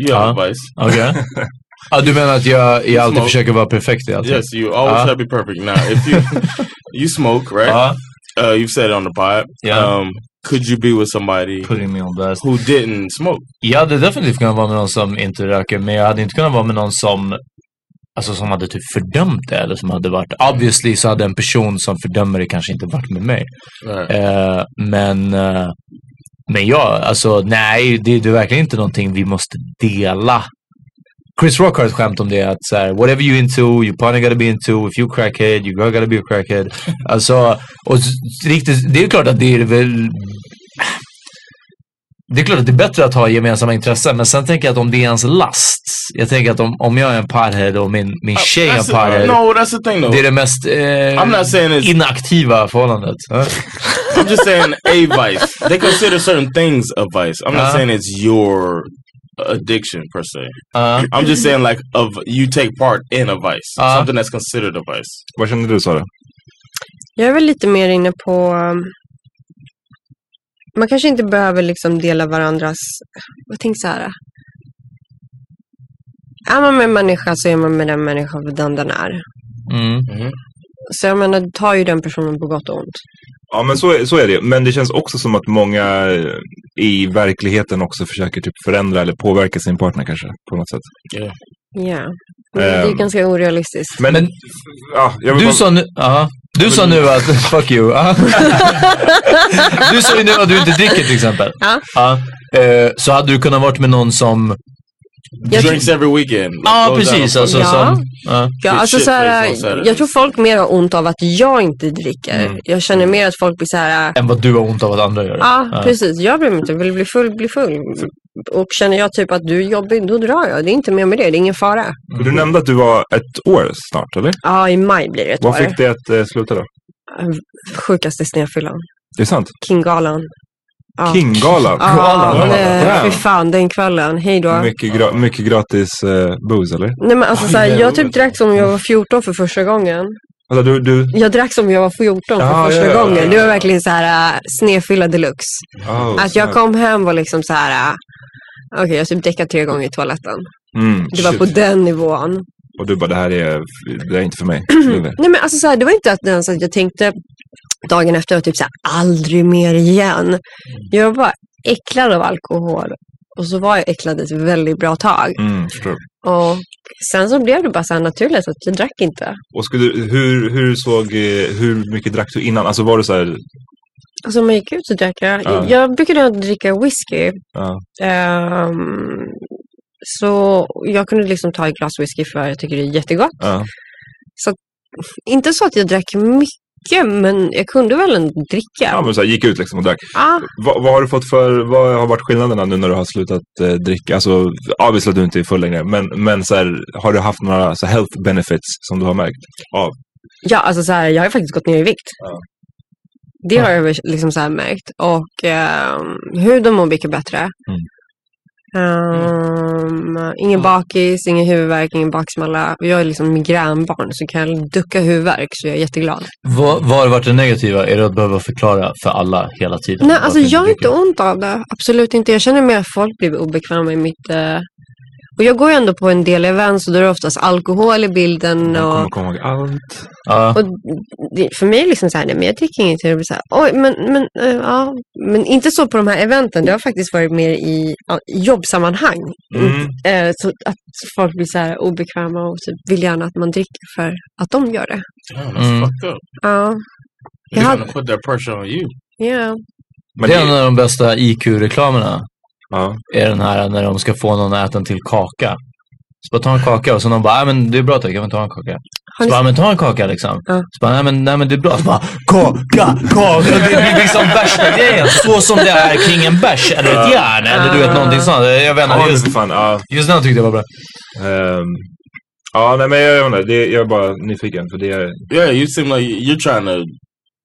F: you have
D: Uh.
F: a vice.
D: Okej. Ja, du menar att jag, jag alltid
F: Smoke.
D: försöker vara perfekt i allt?
F: Yes, you always
D: Uh.
F: have to be perfect. Now, if you you smoke, right?
D: Ja.
F: Uh, you've said it on the pod.
D: Uh-huh. Yeah.
F: Um, could you be with somebody
D: Putting me on blast.
F: who didn't smoke?
D: Jag hade definitivt kunnat vara med någon som inte röker, men jag hade inte kunnat vara med någon som Alltså som hade typ fördömt det eller som hade varit Obviously så hade en person som fördömer det kanske inte varit med mig eh, Men eh, Men ja, alltså nej det, det är verkligen inte någonting vi måste dela Chris Rock har ett skämt om det att så här, Whatever you into, your partner gotta be into If you crackhead, your girl gotta be a crackhead Alltså, och s- riktigt, det är klart att det är väl det är klart att det är bättre att ha gemensamma intressen, men sen tänker jag att om det är ens last. Jag tänker att om, om jag är en parhead och min, min tjej är en
F: That's the-
D: parhead.
F: alltså, no, that's the thing though.
D: Det är det mest
F: I'm not
D: eh,
F: saying it's.
D: inaktiva förhållandet. Eh?
F: I'm just saying a vice. They consider certain things a vice. I'm not
D: Uh-huh.
F: saying it's your addiction per se.
D: Ja.
F: I'm just saying like of you take part in a vice,
D: Uh-huh.
F: something that's considered a vice.
B: Vad känner du, Sara?
E: Jag är väl lite mer inne på... um, Man kanske inte behöver liksom dela varandras... Jag tänker så här. Är man med en människa så är man med den människan för den den är.
D: Mm.
E: Så jag menar, du tar ju den personen på gott och ont.
B: Ja, men så, är- så är det. Men det känns också som att många eh, i verkligheten också försöker typ förändra eller påverka sin partner kanske på något sätt.
E: Ja. Men det är ju
B: Ehm.
E: ganska orealistiskt.
B: Men,
D: Men-
B: ja, jag vill
D: Du
B: bara,
D: sa nu, ja. du sa nu att, fuck you. Ja. du sa ju nu att du inte dricker till exempel.
E: Ja.
D: Ja. Eh, så hade du kunnat varit med någon som,
E: Jag-
F: Drinks every weekend. like,
D: ja
F: goes
D: precis.
F: out.
D: Alltså,
E: Ja.
D: Som, ja.
E: Ja,
F: Shit
E: alltså
F: face
E: så här,
F: on Saturdays.
E: jag tror folk mer har ont av att jag inte dricker. Jag känner mer att folk blir så här,
D: än vad du har ont av att andra gör.
E: ja
D: Ja.
E: precis, jag bryr mig inte, vill bli full, bli full. Och känner jag typ att du är jobbig, då drar jag. Det är inte mer med det, det är ingen fara.
B: du nämnde att du var ett år snart, eller?
E: Ja, i maj blir det ett
B: Vad
E: år.
B: fick dig att eh, sluta då?
E: Sjukaste snedfyllan,
B: Det är sant.
E: Kinggalan. Ja.
B: Kinggalan.
E: Ja,
D: Galan.
E: det-
B: Wow.
E: fy fan, den kvällen, hej då.
B: Mycket, gra- mycket gratis eh, booze, eller?
E: Nej, men alltså, så här, jag typ drack som om jag var 14 för första gången.
B: Alltså, du, du...
E: Jag drack som om jag var 14 för
B: Ja,
E: första
B: ja, ja,
E: gången.
B: ja.
E: Det var verkligen så här äh, snedfylla deluxe.
B: Oh,
E: Att jag kom hem var liksom så här. äh, Okej, jag typ däckade tre gånger i toaletten.
B: Mm,
E: Det var
B: shit.
E: på den nivån.
B: Och du bara, det här är, det är inte för mig.
E: Nej, men alltså så här, det var inte att, ens att jag tänkte dagen efter att typ så här, aldrig mer
B: Mm.
E: igen. Jag var bara äcklad av alkohol. Och så var jag äcklad ett väldigt bra tag.
B: Mm, förstår.
E: Och sen så blev det bara så här naturligt att jag drack inte.
B: Och skulle, du- hur, hur såg, eh, hur mycket drack du innan? Alltså var du så här,
E: Alltså om jag gick ut så drack jag.
B: Ja.
E: Jag brukade dricka whisky.
B: ja,
E: Ehm, så jag kunde liksom ta ett glas whisky för jag tycker det är jättegott.
B: ja.
E: Inte så att jag drack mycket mycket, men jag kunde väl ändå dricka.
B: Ja, men så här, gick ut liksom och drack.
E: Ah,
B: Va, vad har du fått för, vad har varit skillnaderna nu när du har slutat eh, dricka? Alltså, obviously att du inte är full längre, men, men så här, har du haft några så här, health benefits som du har märkt? Ja,
E: ja, alltså så här, jag har faktiskt gått ner i vikt.
B: Ja.
E: Det har jag väl liksom så här märkt. Och ehm, huden mår mycket bättre.
B: Mm.
E: Ehm, ingen bakis, ingen huvudvärk, ingen baksmälla. Jag är liksom migränbarn så kan jag ducka huvudvärk så jag är jätteglad.
D: Vad vad har varit det negativa? Är det att behöva förklara för alla hela tiden?
E: Nej, alltså
D: Varför
E: jag har
D: dricker?
E: inte ont av det. Absolut inte. Jag känner mer att folk blir obekväma i mitt... eh, Och jag går ju ändå på en del events och då är det oftast alkohol i bilden.
B: jag
E: Och,
B: kommer komma ihåg allt.
D: Ja.
E: och det, för mig är det liksom så här, nej men jag dricker ingenting. Det blir så här, oj, men, men, eh, ja. men inte så på de här eventen. Det har faktiskt varit mer i, ja, i jobbsammanhang.
B: Mm.
E: Eh, så att folk blir så här obekväma och typ vill gärna att man dricker för att de gör det.
F: Damn, that's
D: Mm.
F: fucked up.
E: Ja,
F: They're
E: Yeah.
F: trying to put that pressure on you.
E: ja.
B: Men
D: det är
B: det-
D: en av de bästa IQ-reklamerna.
B: Ja.
D: Är den här när de ska få någon att äta en till kaka. Så bara ta en kaka och så någon bara, nej men det är bra tack, jag vill ta en kaka. Så
E: Har ni-
D: bara, men ta en kaka liksom.
E: Ja.
D: Så bara, nej men, nej men det är bra. Så bara, kaka, kaka. Det blir liksom värsta grejen. Så som det är kring en bärs eller ett järn. Eller du vet någonting sånt. Jag vet
B: Ja,
D: inte,
B: men
D: just,
B: för fan. Ja,
D: just den tyckte jag var bra.
B: Ehm, ja nej, men jag, jag, vet inte. det, jag är bara nyfiken. För det är,
F: Yeah, you seem like you're trying to.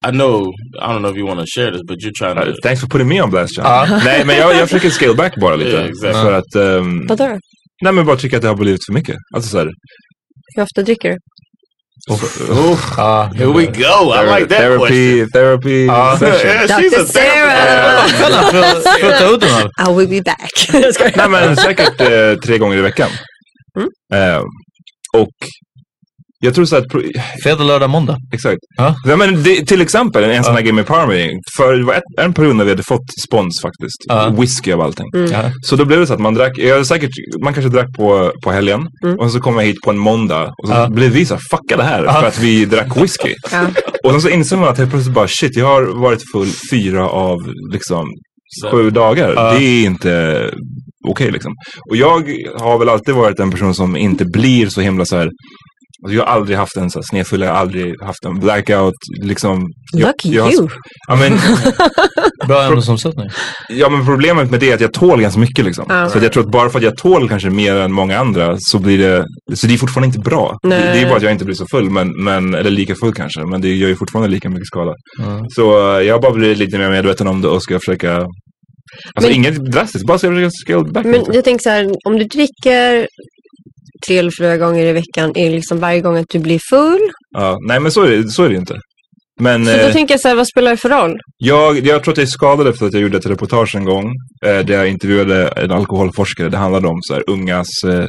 F: I know. I don't know if you want to share this, but you're trying
B: uh,
F: to.
B: thanks for putting me on blast, John. Nej, men jag, jag försöker scale back bara lite.
F: Ja, exakt.
B: För att, ehm,
E: Vadå?
B: nej, men bara tycker att det har blivit för mycket. Alltså så här.
E: Hur ofta dricker du?
F: Oh,
D: Ja,
F: here we go. I like that question.
B: therapy, therapy
F: Uh,
B: session.
F: yeah, she's a
E: Dr. Sarah!
F: therapist.
D: För, för att ta ut den här.
E: I will be back. Jag skojar.
B: Nej, men säkert eh, tre gånger i veckan.
E: Mm.
B: Eh, och jag tror så att, pro-
D: Fredag, lördag, måndag.
B: exakt.
D: Ja.
B: Ja, men det, till exempel en sån här grej med Power Meeting. För det var ett, en period när vi hade fått spons faktiskt.
D: Ja.
B: Whisky av allting.
E: Mm.
D: Ja.
B: Så då blev det så att man drack, jag är säkert, man kanske drack på, på helgen
E: Mm.
B: och så kom jag hit på en måndag och så
D: Ja.
B: blev vi så här, fucka det här för att vi drack whisky.
E: Ja.
B: Och sen så insåg man att helt plötsligt bara shit, jag har varit full fyra av liksom sju dagar.
D: Ja.
B: Det är inte okej liksom. Och jag har väl alltid varit en person som inte blir så himla så här Alltså jag har aldrig haft en så här snedfylla, jag har aldrig haft en blackout. Liksom. Jag,
E: Lucky
B: jag, har-
E: you.
B: Ja men,
D: Bra ämnesomsättning.
B: Ja men problemet med det är att jag tål ganska mycket liksom.
E: Ja.
B: Så att jag tror att bara för att jag tål kanske mer än många andra så blir det, så det är fortfarande inte bra. Det,
E: Nej.
B: det är bara att jag inte blir så full, men, men, eller lika full kanske, men det gör ju fortfarande lika mycket skada. Så eh, jag har bara blivit lite mer medveten om det och ska försöka, alltså
E: Men-
B: inget drastiskt, bara ska försöka scale back
E: Men
B: lite.
E: jag tänker så här, om du dricker tre eller fyra gånger i veckan, är det liksom varje gång att du blir full?
B: Ja, nej men så är det, så är det ju inte. Men
E: Så då
B: eh,
E: tänker jag så här, vad spelar det för roll?
B: jag, jag tror att jag är skadad efter att jag gjorde ett reportage en gång eh, där jag intervjuade en alkoholforskare. Det handlade om så här, ungas eh,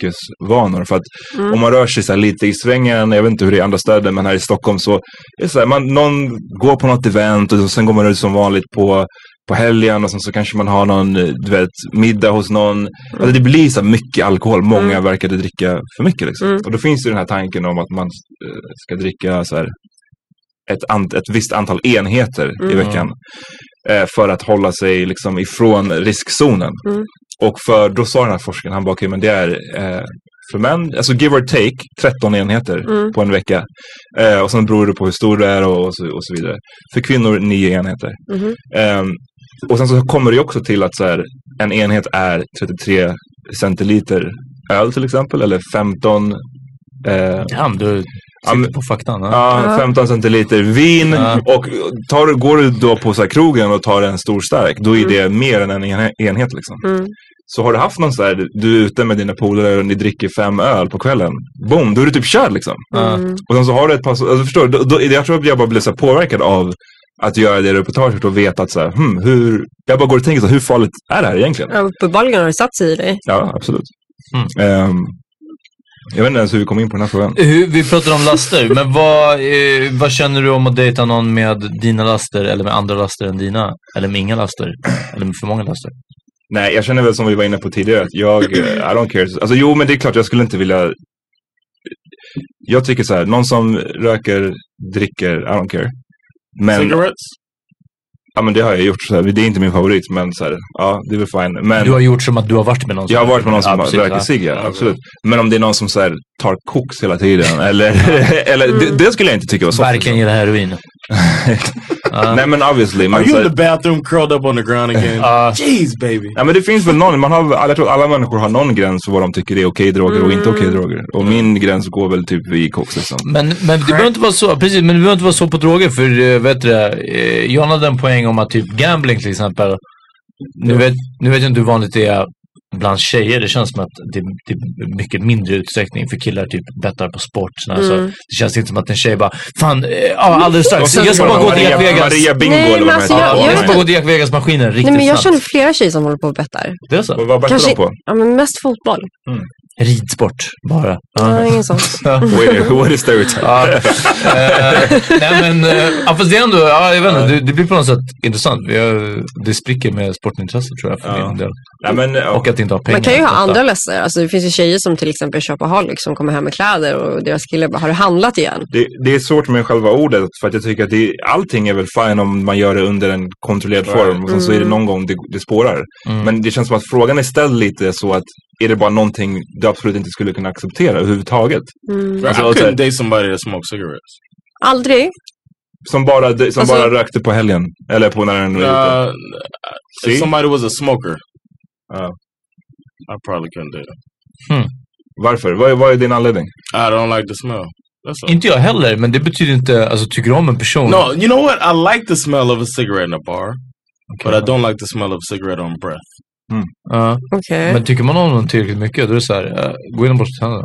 B: dryckesvanor. För att
E: Mm.
B: Om man rör sig så här lite i svängen, jag vet inte hur det är i andra städer, men här i Stockholm så är det så här, man, någon går på något event och sen går man ut som vanligt på, på helgen och sen så kanske man har någon eh, du vet, middag hos
E: Mm.
B: någon. Alltså det blir så här mycket alkohol, många verkade dricka för mycket. Liksom.
E: Mm.
B: Och då finns ju den här tanken om att man eh, ska dricka så här, ett, ant, ett visst antal enheter i
E: Mm.
B: veckan eh, för att hålla sig liksom ifrån riskzonen.
E: Mm.
B: Och för, då sa den här forskaren, han bara, okej men det är eh, för män, alltså give or take, 13 enheter
E: Mm.
B: på en vecka. Eh, och sen beror det på hur stor du är och, och, så, och så vidare. För kvinnor, 9 enheter.
E: Mhm.
B: Ehm, och sen så kommer det ju också till att så här, en enhet är 33 centiliter öl till exempel, eller 15 eh,
D: Damn, du
B: Ja, men-
D: sitter på faktan. Ja.
B: Ja,
E: Ja.
B: 15 centiliter vin.
D: Ja.
B: Och tar, går du då på så här krogen och tar en stor stark, då är det mer än en enhe- enhet. Liksom.
E: Mm.
B: Så har du haft någon så här, du är ute med dina polare och ni dricker fem öl på kvällen. Boom, då är du typ körd liksom.
E: Mm.
B: Och sen så har du ett par, så- alltså, förstår du, då, då, jag tror att jag bara blev så här påverkad av att göra det reportaget och veta att så här, hmm, hur, jag bara går och tänker så här, hur farligt är det här egentligen?
E: Ja, Uppenbarligen har det satt sig i dig.
B: Ja, absolut.
D: Mm.
B: Ehm, jag vet inte ens hur vi kom in på den här frågan.
D: Hur, vi pratar om laster, men vad, eh, vad känner du om att dejta någon med dina laster eller med andra laster än dina? Eller med inga laster? Eller med för många laster?
B: Nej, jag känner väl som vi var inne på tidigare att jag, eh, I don't care. Alltså jo, men det är klart jag skulle inte vilja. Jag tycker så här, någon som röker, dricker, I don't care. Men
F: Cigarettes.
B: Ja, men det har jag gjort. Så här. Det är inte min favorit, men så här, ja, det är väl fine. Men
D: Du har gjort som att du har varit med någon som-
B: jag har varit med någon som
D: Ja, precis,
B: röker
D: ja.
B: cigg, ja, absolut. Men om det är någon som så här, tar koks hela tiden, eller, eller det, det skulle jag inte tycka var soft.
D: Verkligen gillar heroin.
B: Nej, men obviously.
F: Are
B: Men,
F: you
B: så
F: in
B: här,
F: the bathroom curled up on the ground again? Jeez, baby.
B: ja, men det finns väl någon, man har, väl- jag tror alla människor har någon gräns för vad de tycker är okej droger och inte
E: Mm.
B: okej droger. Och min gräns går väl typ vid koks liksom.
D: Men, men det behöver inte vara så, precis, men det behöver inte vara så på droger för eh, vet du det, eh, John hade en poäng om att typ gambling till exempel. Nu vet, nu vet jag inte hur vanligt det är bland tjejer. Det känns som att det, det är mycket mindre utsträckning för killar typ bettar på sport. såna här
E: Mm.
D: saker. det känns inte som att en tjej bara, fan, eh, ja alldeles
B: Och
D: strax,
B: sen
D: jag ska
B: var
D: bara
B: det
D: gå till
B: Maria,
D: Jack Vegas.
B: Maria Bingo
E: Nej,
B: eller
E: men
B: vad
E: alltså,
B: de heter.
E: jag-
D: Ja,
E: jag
D: jag
E: vet
D: ska gå till Jack Vegas maskinen riktigt
E: Nej, men jag
D: snabbt.
E: känner flera tjejer som håller på och bettar.
D: Det är så?
B: Vad- Vad bettar de
E: Kanske-
B: på?
E: Ja, men mest fotboll.
D: Ridsport bara. Ja.
E: Ja, ingen sånt.
B: Wait, What is stereotype?
D: Ja. Eh, nej men, eh, ja, fast det är ändå, ja, jag vet inte, det, det blir på något sätt intressant. Vi har, det spricker med sportintresset tror jag för
B: Ja.
D: min del.
B: Nej, men, ja.
D: Och att inte ha pengar.
E: Man kan ju ha
D: Ofta.
E: andra läster. Alltså, det finns ju tjejer som till exempel köper Holic som kommer hem med kläder och deras kille bara, har du handlat igen?
B: Det, det är svårt med själva ordet för att jag tycker att det, allting är väl fine om man gör det under en kontrollerad form och sen så är
E: Mm.
B: det någon gång det, det spårar.
D: Mm.
B: Men det känns som att frågan är ställd lite så att är det bara någonting du absolut inte skulle kunna acceptera överhuvudtaget? Alltså,
F: I
B: så
F: couldn't
B: här,
F: date somebody that smoked cigarettes.
E: Aldrig.
B: som bara, som
E: Alltså-
B: bara rökte på helgen eller på när den var ute.
F: Uh,
B: See?
F: if somebody was a smoker,
B: Ja.
F: Oh. I probably couldn't date them.
B: Varför? Vad, är- vad är din anledning?
F: I don't like the smell. That's all.
D: Inte jag heller, men det betyder inte, alltså tycker du om en person?
F: No, you know what? I like the smell of a cigarette in a bar, but I don't like the smell of a cigarette on breath.
D: Ja,
E: Okej.
D: men tycker man om någon tillräckligt mycket, då är det så här, eh, gå in och borsta tänderna.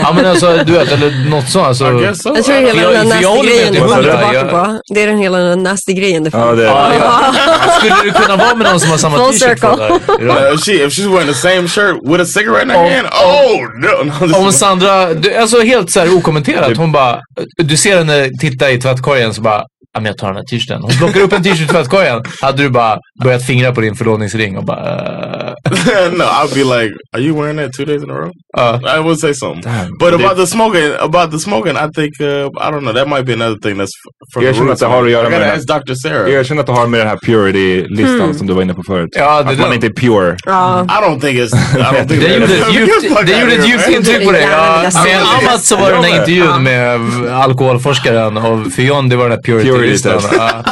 D: ja men alltså du vet, eller något sånt. Alltså,
F: I guess so.
E: Jag tror
F: I-
E: hela
D: jag-
E: den
D: för jag
E: där
D: håller med
E: nasty-grejen
D: dig,
E: du kommer
B: Maria.
E: tillbaka
D: Jag-
E: på. Det är den hela den nasty-grejen du
B: Ja,
E: får.
B: det,
D: Ja, ja. Skulle du kunna vara med någon som har samma
E: Full
D: t-shirt på
E: circle.
D: dig?
F: Uh, if she if she's wearing the same shirt with a cigarette in her
D: Oh,
F: hand,
D: oh.
F: oh no! no this
D: Om
F: is-
D: Sandra, du, alltså helt så här okommenterat, hon bara, du ser henne titta i tvättkorgen så bara, ja men jag tar den här t-shirten. Hon plockar upp en t-shirt i tvättkorgen. Hade du bara börjat fingra på din förlovningsring och bara, eh,
F: no, I'd be like, "Are you wearing that two days in a row?"
D: Uh.
F: I would say something.
B: Damn.
F: but
B: They-
F: about the smoking, about the smoking, I think uh, I don't know. That might be another thing that's f- from
B: Yeah,
F: the
B: sure,
F: roots.
B: that's how
F: man.
B: they are,
F: I gotta
B: man.
F: ask Dr. Sarah.
B: jag känner att det har med den här purity-listan
D: Mm.
B: som du var inne på förut.
D: Ja, det
B: att
D: där.
B: man inte är pure.
E: Ja.
F: I don't think it's. I don't think
D: det gjorde ett djupt, det gjorde ett djupt intryck på dig. Ja, med Amat så var det den här intervjun med alkoholforskaren och för John det var den här purity-listan.
B: Purity
D: Ja.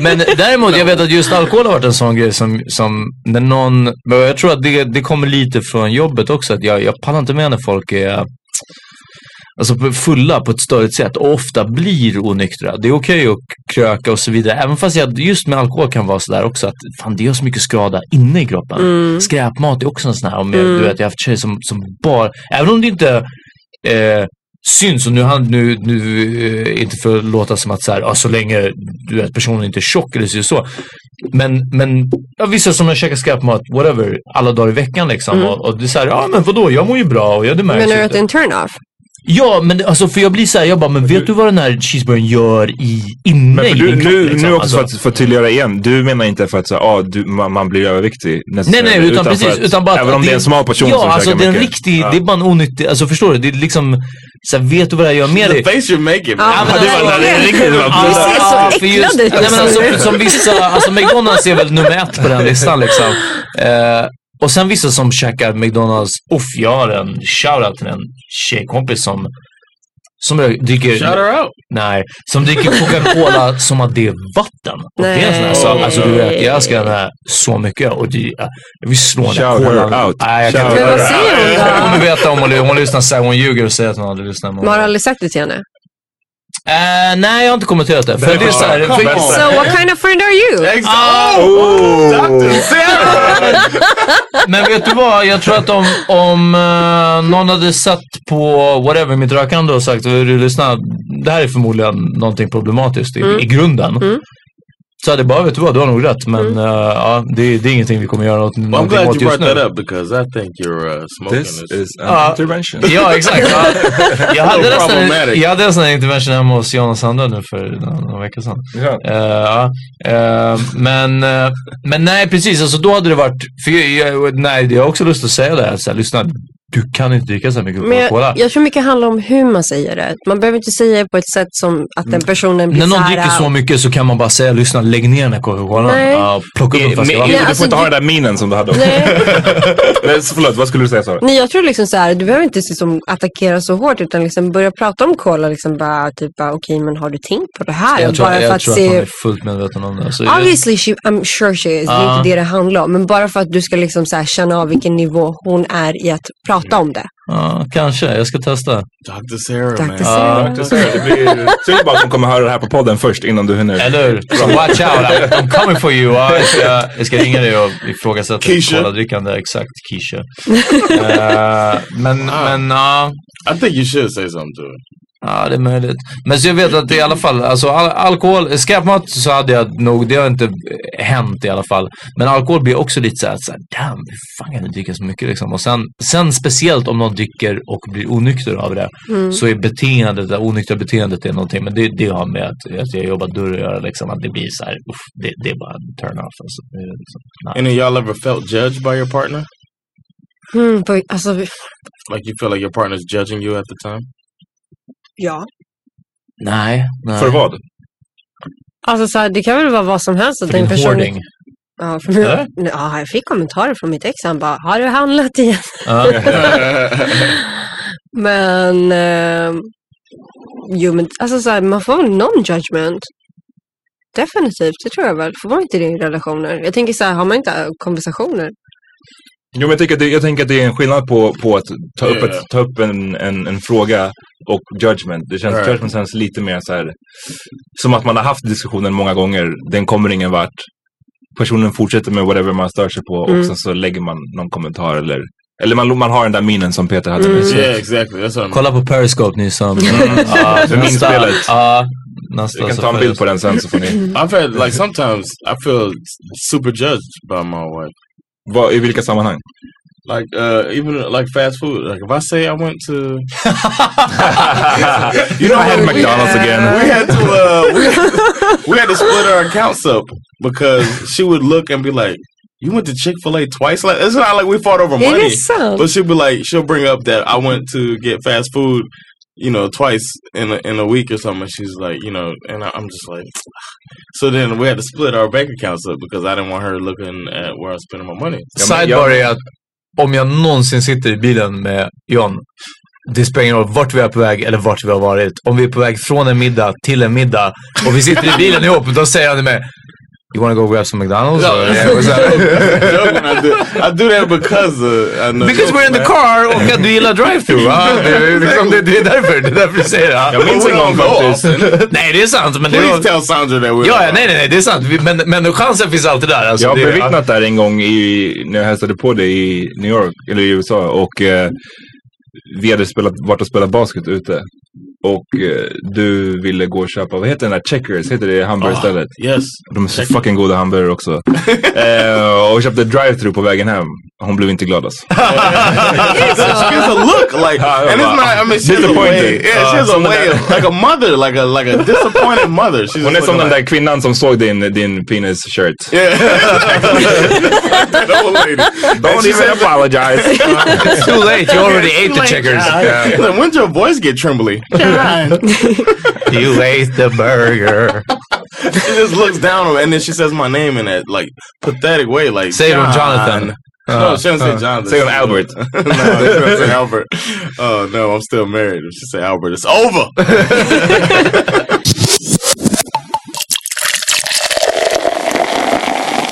D: Men däremot, jag vet att just alkohol har varit en sån grej som, som när någon, men jag tror att det, det kommer lite från jobbet också, att jag, jag pallar inte med när folk är Alltså fulla på ett större sätt och ofta blir onyktra. Det är okej att kröka och så vidare. Även fast jag just med alkohol kan vara sådär också att fan det gör så mycket skada inne i kroppen.
E: Mm.
D: Skräpmat är också en sån här, om jag, du vet jag har haft tjejer som, som bara, även om det inte eh, syns och nu, han- nu, nu eh, inte för att låta som att så här, ja, så länge du vet personen inte är tjock eller så, så. Men, men ja, vissa som har käkat skräpmat, whatever, alla dagar i veckan liksom. Och, och det är så här, ja men vadå, jag mår ju bra och jag det märks
E: Mm. Menar du
D: inte.
E: att det är en turn-off?
D: Ja, men alltså för jag blir så här, jag bara, men vet du vad den här cheeseburgaren gör i, inne
B: Men för
D: i
B: du,
D: din kropp?
B: nu,
D: liksom?
B: nu också
D: Alltså-
B: för att förtydliggöra igen, du menar inte för att så, här, ah, du, man, man blir överviktig
D: Nej,
B: necessarily,
D: nej, utan,
B: för
D: precis.
B: att-
D: utan bara att
B: även om det, är en smal person
D: ja,
B: som
D: alltså,
B: käkar
D: det är en
B: mycket.
D: riktig,
B: Ja.
D: det är bara en onyttig, alltså förstår du? Det är liksom, så här, vet du vad det här gör med dig?
F: The face you're making.
E: Ja,
F: man.
E: men
B: det var- det är riktigt bra.
D: Ja,
E: Du ser så
D: ja, för
E: äcklad
D: just-
E: ut.
D: Nej, men alltså, för- som vissa, alltså McDonalds är väl nummer ett på den listan liksom. Eh, och sen vissa som käkar McDonalds, uff, jag har en shoutout till en tjejkompis som som dricker...
F: Shout her out.
D: Nej, som dricker Coca-Cola som att det är vatten. Och det är en sån här
E: Nej.
D: sak, alltså du vet, jag älskar den här så mycket och det, jag vill slå den här
B: Shout her
D: kolan.
B: out.
D: Nej, jag kan
B: Shout
D: inte
E: Men
D: göra
E: vad
D: det.
E: säger
D: Hon
E: hon
D: kommer
E: då?
D: veta om hon, hon lyssnar så här, hon ljuger och säger att hon aldrig lyssnar. Men...
E: Man har aldrig sagt det till henne.
D: Eh, nej, jag har inte kommenterat det. För det är så här,
B: Come
D: för,
B: on.
E: So what kind of friend are you?
F: Ex-
B: Oh!
D: Men vet du vad? Jag tror att om, om eh, någon hade satt på whatever mitt rökande och sagt "Hör du lyssna, det här är förmodligen någonting problematiskt i, i grunden. Så hade jag bara, vet du vad, du har nog rätt men eh, ja, det, det är ingenting vi kommer göra något,
F: Well, I'm
D: någonting
F: glad
D: åt
F: you
D: just
F: brought that
D: nu.
F: up because I think you're uh, smoking
B: This
F: is.
B: is an
D: Ja.
B: intervention.
D: Ja, exakt. Ja. Jag, hade
F: So
D: nästan,
F: problematic.
D: jag hade en sån här intervention hemma hos Jan och Sandra nu för någon, någon vecka sedan.
B: Ja.
D: Eh, ja. Eh, men, eh, men nej, precis. Alltså, då hade det varit... För jag, jag, nej, jag har också lust att säga det här. Så här lyssna, du kan inte dricka så här mycket
E: Men
D: Coca-Cola.
E: jag, jag tror mycket handlar om hur man säger det. Man behöver inte säga det på ett sätt som att den personen blir
D: Mm.
E: "Ah."
D: När någon
E: såhär,
D: dricker så mycket så kan man bara säga, lyssna, lägg ner den här Coca-Colan.
E: Nej.
D: Ja, plocka upp en flaska
B: Men,
D: vatten.
B: du
E: Nej,
B: får
E: alltså,
B: inte ha
E: du-
B: den där minen som du hade. också.
E: Nej.
B: Nej, så förlåt, vad skulle du säga Sara?
E: Nej, jag tror liksom så här, du behöver inte liksom attackera så hårt utan liksom börja prata om cola. Liksom bara, typ, bara, okej, men har du tänkt på det här?
D: Jag tror,
E: bara
D: jag tror att han är fullt medveten om det. Så jag-
E: Obviously, she, I'm sure she is. Det är
D: Ja.
E: inte det det handlar om. Men bara för att du ska liksom så här känna av vilken nivå hon är i att prata om det.
D: ja, kanske, jag ska testa.
F: Dr. Sarah,
E: Dr.
F: man.
E: Sarah.
B: Dr. Sarah, Det blir synd bara att de kommer höra det här på podden först innan du hinner.
D: Eller hur? Så watch out, I'm, I'm coming for you. Ja, jag, ska, jag ska ringa dig och ifrågasätta ditt
F: Keisha.
D: coladrickande. Exakt, Keisha. Eh, men, men ja.
F: I think you should say something to her.
D: Ja, det är möjligt. Men så jag vet att i alla fall, alltså al- alkohol, skräpmat så hade jag nog, det har inte eh, hänt i alla fall. Men alkohol blir också lite så här, så här damn, hur fan kan du dricka så mycket liksom? Och sen, sen speciellt om någon dricker och blir onykter av det,
E: Mm.
D: så är beteendet, det onyktra beteendet är någonting. Men det, det har med att, att jag jobbar dörr att göra liksom, att det blir så här, uff, det, det är bara en turn-off. Alltså. Det är Liksom, nej.
F: Any of y'all ever felt judged by your partner?
E: Mm, på, alltså,
F: Like you feel like your partner's judging you at the time?
E: ja.
D: nej, nej.
B: För vad?
E: Alltså, så här, det kan väl vara vad som helst. att
D: För din
E: den personen-
D: hoarding.
E: Ja, för min,
D: Eller?
E: ja, jag fick kommentarer från mitt ex. Han bara, har du handlat igen?
D: Ja.
E: Men, eh, jo men alltså så här, man får väl någon judgment. Definitivt, det tror jag väl. Får man inte det i relationer? Jag tänker så här, har man inte äh, konversationer?
B: Jo, men jag, tänker att det, jag tänker att det är en skillnad på, på att ta upp,
F: Ja, ja.
B: ett, ta upp en, en, en fråga och judgment. Det känns,
F: Right.
B: Judgment känns lite mer så här, som att man har haft diskussionen många gånger. Den kommer ingen vart. Personen fortsätter med whatever man stör sig på
E: Mm.
B: och sen så lägger man någon kommentar eller, eller man, man har den där minen som Peter hade. nyss.
F: Yeah, exactly. That's what I mean.
D: Kolla på Periscope ni som... Ja,
B: För min spelet.
D: Ja, nästa.
B: Jag kan
D: så
B: ta en
D: får
B: bild på den sen så får ni.
F: I've had like sometimes I feel super judged by my wife.
B: Vad, I vilka sammanhang?
F: Like uh, even like fast food. Like if I say I went to
B: you know I had McDonald's
F: we
B: again.
F: had to uh, we, had, we had to split our accounts up because she would look and be like, "You went to Chick Fil A twice." Like it's not like we fought over
E: Är
F: money,
E: det sant?
F: but she'll be like, she'll bring up that I went to get fast food, you know, twice in a, in a week or something. And she's like, you know, and I, I'm just like, so then we had to split our bank accounts up because I didn't want her looking at where I was spending my money.
D: Sidebar är att om jag någonsin sitter i bilen med John, det spelar ingen roll vart vi är på väg eller vart vi har varit. Om vi är på väg från en middag till en middag och vi sitter i bilen ihop, då säger han till mig You wanna go grab some McDonalds?
F: No,
D: Or-
F: it's
D: så här,
F: a joke when I do, I do that because uh, I know
D: Because we're in the car och att du gillar drive-through. va? Det, är liksom, det, det är därför, det är därför du säger det.
B: Jag minns en gång faktiskt.
D: Nej, det är sant. Men det
F: Please
D: var,
F: tell Sandra that we're
D: ja, ja, nej, nej, nej, det är sant. Vi- Men, men chansen finns alltid där. Alltså,
B: Jag har
D: det,
B: bevittnat det här en gång i, när jag hälsade på dig i New York, eller i USA. Och eh, vi hade spelat, varit och spelat basket ute. Och eh, du ville gå och köpa, vad heter den där checkers? Heter det hamburgerstället?
F: Yes.
B: De är så fucking goda hamburgare också. eh, och köpte drive-thru på vägen hem. Hon blev inte glad alltså.
F: she has a look like,
D: Oh,
F: and it's not. I mean, she has a way.
B: Disappointed.
F: Yeah, she has a
B: Uh,
F: way of, like a mother, like a like a disappointed mother. She's
B: Hon är
F: just
B: som den
F: looking
B: där kvinnan som såg din, din penis-shirt.
F: like that old lady.
B: Don't even apologize.
D: It's too late. You already
F: It's
D: ate the
F: like,
D: checkers.
F: ah, Like, when's your voice get trembly? she
D: You ate the burger.
F: just looks down on, and then she says my name in that like pathetic way, like
D: Say it on
F: John.
D: Jonathan.
F: no, she doesn't say Jonathan.
B: Uh, Say on Albert.
F: no, she doesn't say Albert. Oh no, I'm still married. If she say Albert, it's over.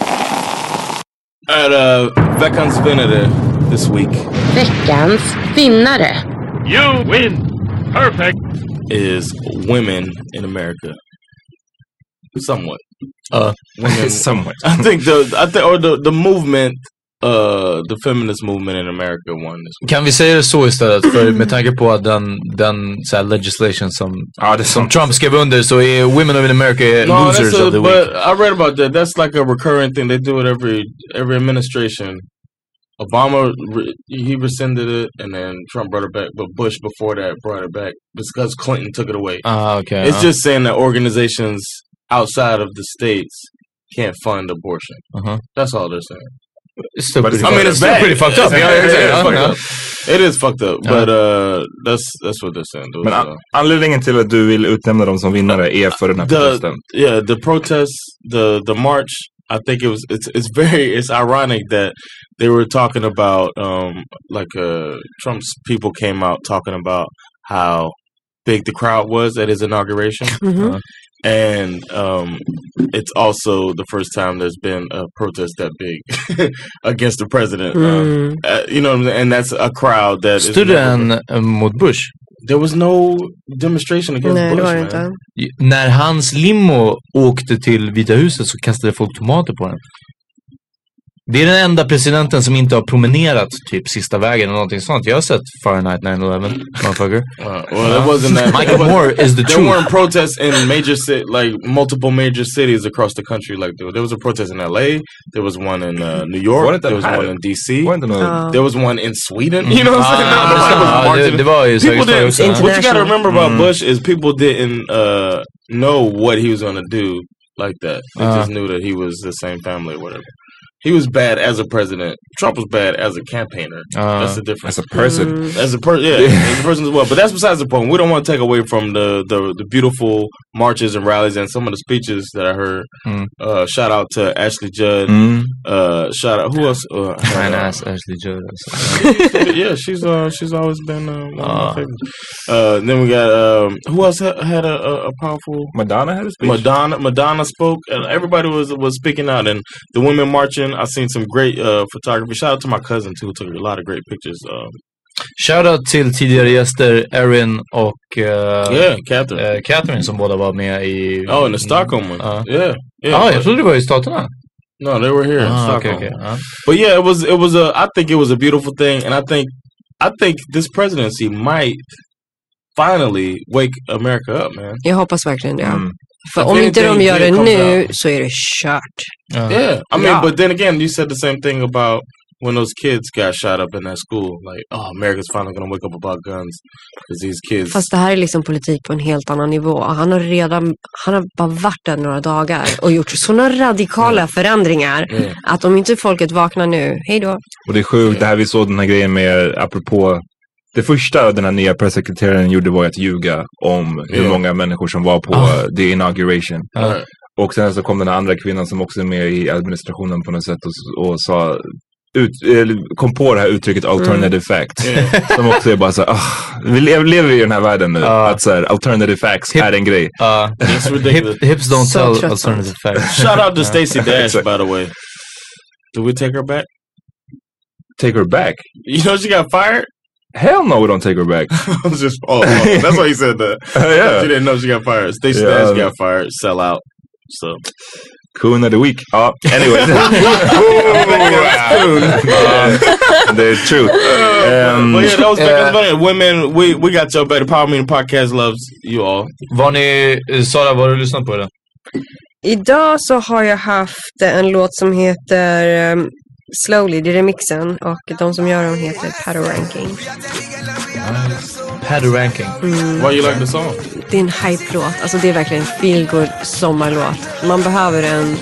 F: All right, uh, veckans vinnare this week
H: Veckans vinnare.
F: is women in America. Somewhat.
D: Uh,
F: women,
B: Somewhat.
F: I think the I think or the the movement, uh, the feminist movement in America won this.
D: Kan vi säga det så istället? För med tanke på att den, den så här legislation som,
B: Ja, det är
D: som
B: sant.
D: Trump skrev under så är Women of America
F: No,
D: losers
F: that's a,
D: of the
F: but
D: week.
F: I read about that. That's like a recurring thing. They do it every every administration. Obama re, he rescinded it, and then Trump brought it back. But Bush before that brought it back because Clinton took it away.
D: Ah, okej.
F: It's
D: ja.
F: just saying that organizations outside of the states can't fund abortion.
D: Uh-huh.
F: That's all they're saying.
D: Still
F: But it's-
D: pretty-
F: I mean, it's
D: still
F: bad.
D: pretty fucked up.
F: It's-
D: Yeah, yeah,
F: it is
D: yeah, Uh-huh.
F: fucked
D: yeah.
F: up. It is fucked up,
B: Ja.
F: but uh, that's that's what they're saying. Those
B: Men
F: are-
B: an- anledningen till att du vill utnämna dem som vinnare är för den här protesten.
F: the yeah the protest the the march i think it was it's it's very it's ironic that they were talking about um like uh trump's people came out talking about how big the crowd was at his inauguration
E: Mm-hmm.
I: Mhm.
F: Uh, and um it's also the first time there's been a protest that big against the president
D: Mm.
F: uh, uh, you know what I'm saying? and that's a crowd that is
D: Stod
F: never-
D: den eh, mot Bush?
F: there was no demonstration against
E: Nej, det
F: Bush,
E: var det
F: man.
E: inte.
D: I- När hans limo åkte till Vita huset så kastade folk tomater på den. Det är den enda presidenten som inte har promenerat typ sista vägen eller någonting sånt. Jag har sett Fahrenheit 9-11, motherfucker.
F: Uh, Well, it wasn't that.
D: Michael
F: it wasn't-
D: Moore is the
F: There
D: truth.
F: weren't protests in major ci- like multiple major cities across the country. Like there, there was a protest in L.A. There was one in uh, New York.
B: Wasn't that
F: There was
B: bad?
F: one in D.C.
B: Oh.
F: There was one in Sweden. You know what I'm saying?
D: Ah,
F: nobody was
D: ah,
F: marching.
D: det- det var ju
F: people
D: säkert också,
F: didn't.
D: ja.
F: What you gotta remember about
D: Mm.
F: Bush is people didn't uh, know what he was gonna do like that. They
D: Ah.
F: just knew that he was the same family or whatever. He was bad as a president. Trump was bad as a campaigner.
B: Ah.
F: That's the difference.
B: As a person. Mm.
F: As a person, yeah, as a person as well. But that's besides the point. We don't want to take away from the, the, the beautiful marches and rallies and some of the speeches that I heard.
D: Mm.
F: Uh, shout out to Ashley Judd.
D: Mm.
F: Uh, shout out who else? Uh,
D: Fine ass Ashley Judd. alltså.
F: yeah, she's uh, she's always been uh, one of my
D: Ah.
F: favorites. Uh, then we got um, who else ha- had a, a, a powerful
B: Madonna had a speech.
F: Madonna Madonna spoke, and everybody was was speaking out, and the women marching. I seen some great uh, photography. Shout out to my cousin too, who took a lot of great pictures. Uh,
D: Shoutout till tidigare gäster Erin och eh,
F: Uh, Yeah, Catherine.
D: eh, Catherine som båda var med i...
F: oh, and the Stockholm one.
D: Ja.
F: Yeah,
D: Ja,
F: Oh, yeah. Uh-huh,
D: jag trodde det var i Staterna.
F: No, they were here. in
D: Ah, okay,
F: Stockholm.
D: okay. Ah.
F: But yeah, it was it was a. I think it was a beautiful thing, and I think I think this presidency might finally wake America up, man.
E: Jag hoppas verkligen det.
F: Mm.
E: För
F: If
E: om inte de
F: anything
E: gör det
F: good comes
E: nu så är det kört.
F: yeah, I mean,
E: Yeah.
F: but then again, you said the same thing about when those kids got shot up in that school. Like, oh, America's finally gonna wake up about guns because these kids.
E: Fast det här är liksom politik på en helt annan nivå. Han har redan, han har bara varit där några dagar och gjort sådana radikala förändringar
B: Mm.
E: att om inte folket vaknar nu, hej då.
B: Och det är sjukt, det här vi såg den här grejen med, apropå, det första den här nya pressekreteraren gjorde var att ljuga om hur
F: Ja. Ah.
B: många människor som var på eh, the inauguration.
F: Ja.
B: Och sen så kom den här andra kvinnan som också är med i administrationen på något sätt och, och sa, ut, eller kom på det här uttrycket
F: Mm.
B: alternative fact. Som också är bara så här, ah, vi lever, lever i den här världen nu.
F: Ah.
B: Att så här, alternative facts är en grej.
F: That's ridiculous.
D: hips don't
F: So
D: tell
F: trust
D: alternative facts.
F: Shout out to
D: Ja.
F: Stacey Dash, by the way. Do we take her back?
B: Take her back.
F: You know she got fired?
B: Hell no, we don't take her back.
F: I was just, oh, oh, that's why you said that.
B: yeah.
F: She didn't know she got fired. Stacey
B: Yeah.
F: Dash got fired. Sell out. So.
B: Coon of the week. Ja, anyway. Det är true. Um, Ehm,
F: But yeah, that was back in the day. Women, we, we got your better power meeting podcast loves you all.
D: Var ni, eh, Sara, var har du lyssnat på idag?
E: Idag så har jag haft en låt som heter ehm, Slowly, det är remixen och de som gör den heter Paddle Ranking.
D: Pad ranking.
E: Mm.
F: Why you like the song?
E: Det är en hype-låt, alltså det är verkligen en feelgood sommarlåt. Man behöver en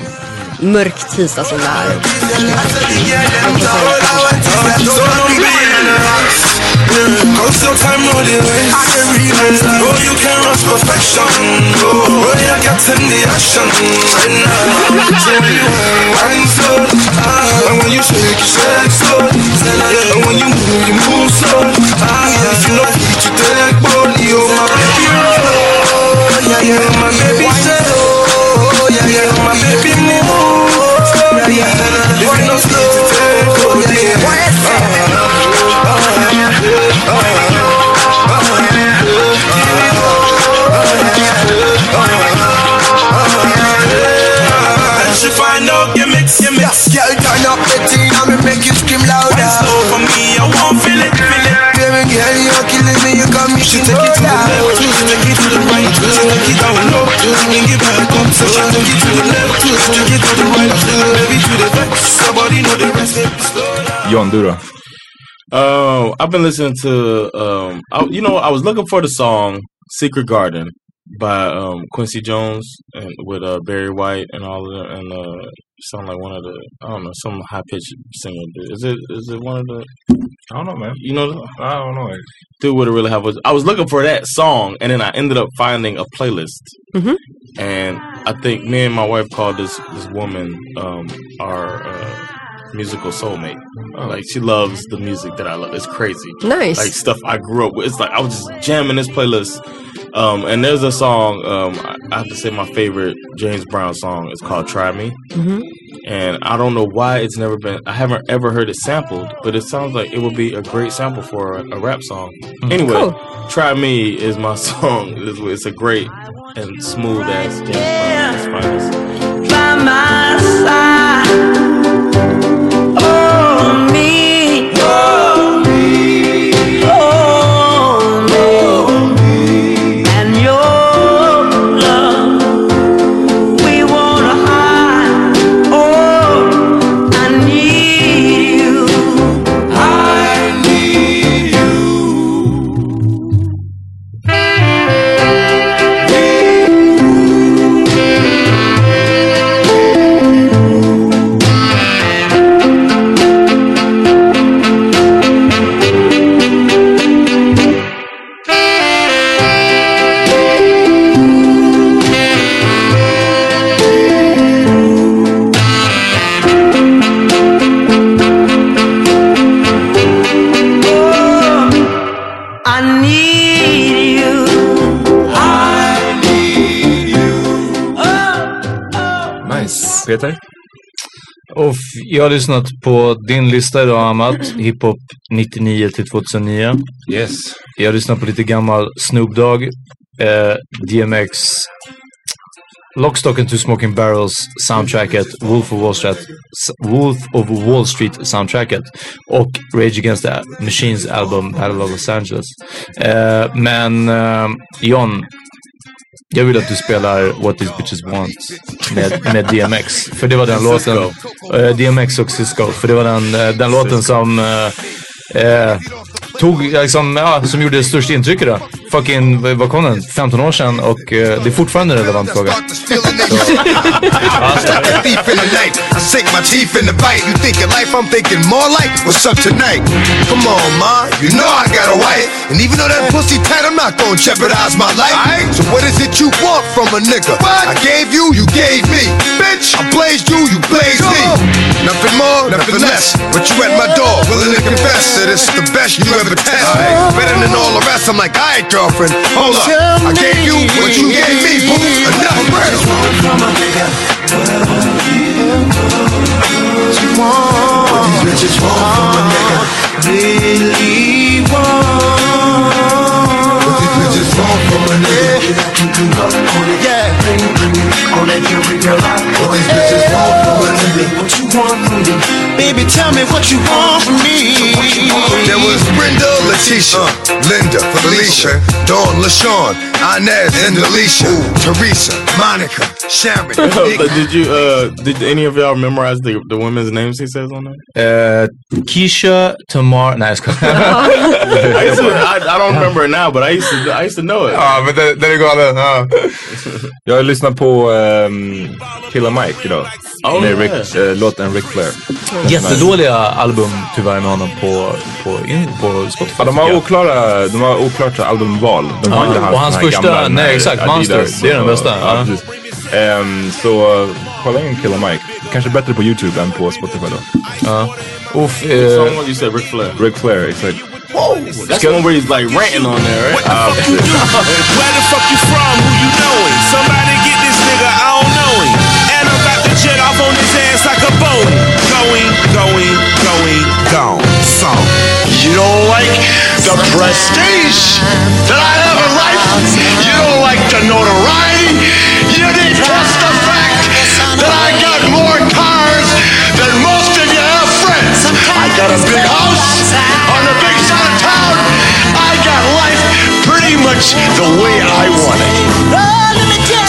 E: mörk tisdag som det här.
I: Cause your time no the waste. I can realize that. Oh, you can rush perfection. Oh, oh yeah, captain the action right now. So when you whine, whine slow, ah, and when you shake, you shake slow, yeah, and when you move, you move slow. Ah, if you know free to take body, oh my baby, oh yeah, yeah, my baby, shake, oh yeah, yeah, my baby, move, yeah, yeah, if you know free to take body,
J: And she find out you mix, you mix. Girl, turn up the thing and me make you scream louder. What's slow for me, I won't feel it, feel it. Baby girl, you're killing me, you got me She take it to the left, she take it to the right, she take it down low, she bring it back up. So she take it to the left, she take it to the right, baby to the back. Somebody know the rest.
B: John, du då?
F: Um, I've been listening to um, I, you know, I was looking for the song "Secret Garden" by um, Quincy Jones and with uh, Barry White and all of them, and uh, sound like one of the I don't know some high pitched singer. dude. Is it is it one of the I don't know, man. You know, I don't know. Dude would have really have was I was looking for that song, and then I ended up finding a playlist,
E: Mhm.
F: and I think me and my wife called this this woman um, our. Uh, Musical soulmate, like she loves the music that I love. It's crazy,
E: Nice.
F: Like stuff I grew up with. It's like I was just jamming this playlist. Um, and there's a song, um, I- I have to say my favorite James Brown song is called Try Me.
I: Mm-hmm.
F: And I don't know why it's never been, I haven't ever heard it sampled, but it sounds like it would be a great sample for a, a rap song. Anyway, Try Me is my song. It's, it's a great and smooth ass James Brown. It's finest.
I: by my side. Oh, me. Oh, me. Oh, me. And your love, we wanna hide. Oh, I need you. I need you. I need you. I need you.
D: Nice. Peter? Och f- jag har lyssnat på din lista idag Amat, hiphop 99 till 2009. Yes. Jag har lyssnat på lite gammal Snoop Dogg, eh, DMX, Lockstock and Two Smoking Barrels soundtracket, Wolf of Wall Street, s- Wolf of Wall Street soundtracket och Rage Against the Machines album Battle of Los Angeles. Eh, men eh, John, jag vill att du spelar What These Bitches Want med, med DMX. För det var den
F: Cisco.
D: låten. eh, DMX och Cisco. För det var den, eh, den låten som eh, eh, tog, liksom, ja, som gjorde störst intryck idag. Fucking, vad vad kom den? 15 år sedan och eh, det är fortfarande en relevant fråga.
K: Stop the thief in the night. I sink my teeth in the bite. You thinking life? I'm thinking more like what's up tonight. Come on, ma, you know I got a wife, and even though that pussy tight, I'm not gonna jeopardize my life. So what is it you want from a nigga? I gave you, you gave me, bitch. I blazed you, you blazed me. Nothing more, nothing less. But you at my door, willing to confess that it's the best you ever test. Better than all the rest. I'm like, alright, girlfriend, hold up. I gave you what you gave me, boo. Enough.
I: Bitches want from a nigga. Really want. What these bitches want from a nigga. Yeah. On that Cuban girl, I What these bitches want from a nigga. What you want from me? Baby, tell me what you want from me.
K: There was Brenda, Leticia, Linda, Felicia, Dawn, LaShawn, Inez, and Alicia, Teresa, Monica, Sharon.
F: But Oh, did you, uh, did any of y'all memorize the, the women's names he says on there?
D: Eh, Keisha, Tamar... Nej, jag skojar.
F: I, used to, I, I don't remember it now, but I used to, I used to know it.
L: Ja, men den, den är galen. Ja. Jag har lyssnat på
D: ehm,
L: um, Killa Mike idag.
D: Oh,
L: med
D: yeah.
L: Rick, eh, låten Rick Flair.
D: Jättedåliga album tyvärr med honom på, på, in, på Spotify.
L: Ja, de har oklara, de har oklart albumval. De har
D: Ja,
L: inte haft
D: och hans
L: den här
D: första-
L: gamla,
D: nej,
L: den här
D: exakt,
L: Adidas
D: Monster. Det är den
L: och-
D: bästa,
L: Ja,
D: ja.
L: precis. Ehm, så eh, kolla in Killa Mike. Kanske bättre på YouTube än på Spotify då.
D: Ja. Uff, eh,
F: Someone you said Ric Flair.
L: Ric Flair, exakt.
F: Whoa, that's the one where he's like ranting on there, right?
L: Ja, precis.
M: Where the fuck you from? Who you knowing? Somebody get this nigga, I don't know him. And I'm about to jet off on his ass like a Boeing. Going, going, going, gone. So,
K: You don't like the prestige that I have in life. You don't like the notoriety. You didn't trust the fact that I got more cars than most of you have friends. I got a big house on the big side of town. I got life pretty much the way I want it.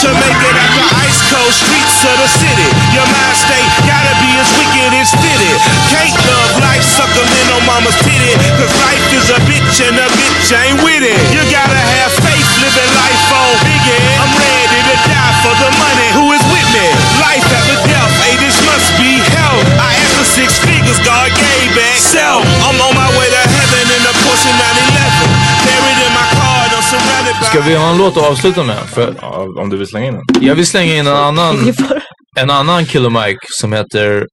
M: to make it out the ice cold streets of the city. Your mind state gotta be as wicked as fitted. Can't love life, sucker, in on mama's titty. Cause life is a bitch and a bitch ain't with it. You gotta have faith, living life on biggie.
D: vi ha en låt att avsluta med? För
L: om du vill slänga in den.
D: Jag vill slänga in en annan, en annan Killer Mike som heter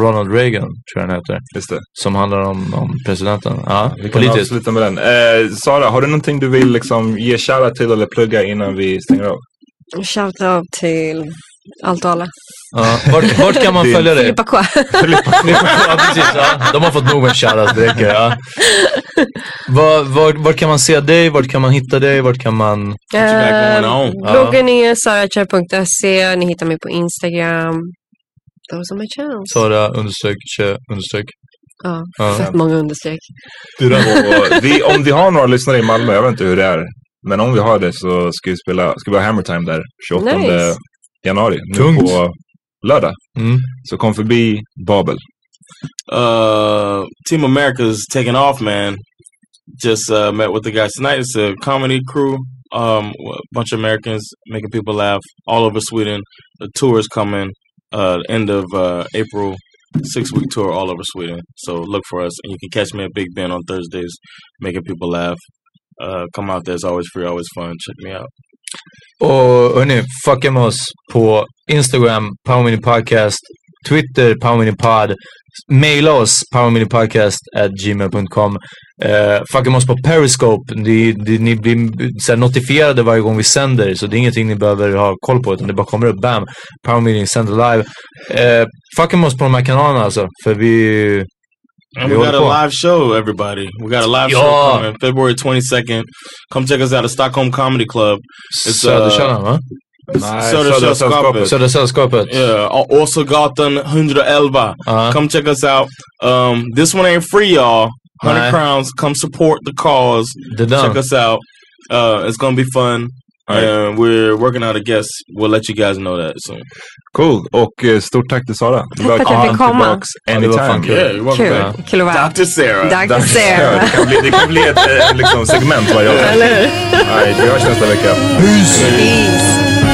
D: Ronald Reagan, tror jag den heter.
L: Just det.
D: Som handlar om, om presidenten. Ja,
L: Vi kan
D: politiskt.
L: avsluta med den. Eh, Sara, har du någonting du vill liksom ge shoutout till eller plugga innan vi stänger av?
E: Shoutout till allt och alla.
D: Ja, vart, vart kan man
L: Din-
D: följa dig?
E: Filippa K.
D: ja, precis, ja. De har fått nog med shoutout, det räcker. Ja. Var, var, vart kan man se dig? Vart kan man hitta dig? Vart kan man...
E: Eh, bloggen är saracher.se. Ni hittar mig på Instagram. Those are my channels.
D: Sara understreck, tje, understreck.
E: Ja,
L: Ja.
E: fett många understreck.
L: Och vi, om vi har några lyssnare i Malmö, jag vet inte hur det är. Men om vi har det så ska vi spela, ska vi ha Hammer Time där 28
E: Nice.
L: januari. Nu
D: Tungt.
L: på lördag.
D: Mm.
L: Så kom förbi Babel.
F: uh, Team America's taking off, man. Just uh, met with the guys tonight. It's a comedy crew, um, a bunch of Americans making people laugh all over Sweden. The tour is coming, uh, end of uh, April, six week tour all over Sweden. So look for us, and you can catch me at Big Ben on Thursdays, making people laugh. Uh, come out there; it's always free, always fun. Check me out.
D: Och hörni, fucka med oss på Instagram, Powermini Podcast, Twitter, Powermini Pod. Maila oss, powerminipodcast at gmail.com. Eh, fucka med oss på Periscope. Ni, ni, ni blir så här, notifierade varje gång vi sänder, så det är ingenting ni behöver ha koll på, utan det bara kommer upp. Bam! Powermini sänder live. Eh, fucka med oss på de här kanalerna alltså, för vi...
F: And
D: vi
F: we got
D: håller
F: a
D: på.
F: live show, everybody. We got a live
D: Yeah.
F: show coming February 22nd. Come check us out at Stockholm Comedy Club. uh,
D: Söderkällan, va? Nej, Södersällskapet. Södersällskapet.
F: Yeah, Al- also Gotham 111.
D: Uh-huh.
F: Come check us out. Um, this one ain't free, y'all. 100
D: Nej.
F: crowns. Come support the cause.
D: The done.
F: check us out. Uh, it's going to be fun. And we're working out a guest. We'll let you guys know that soon.
L: Cool. Och eh, stort tack till Sara.
F: Tack för att jag
L: Välkommen
F: fick komma.
L: tillbaks
F: Ja, det var fan
L: Anytime.
F: kul. Yeah, you're welcome Kul. back. Kul att vara här. Dr. Sarah. Dr. Sarah.
L: Det kan bli, det kan bli ett eh, liksom, segment varje avsnitt.
F: Eller hur?
L: Nej, vi hörs nästa vecka. Peace.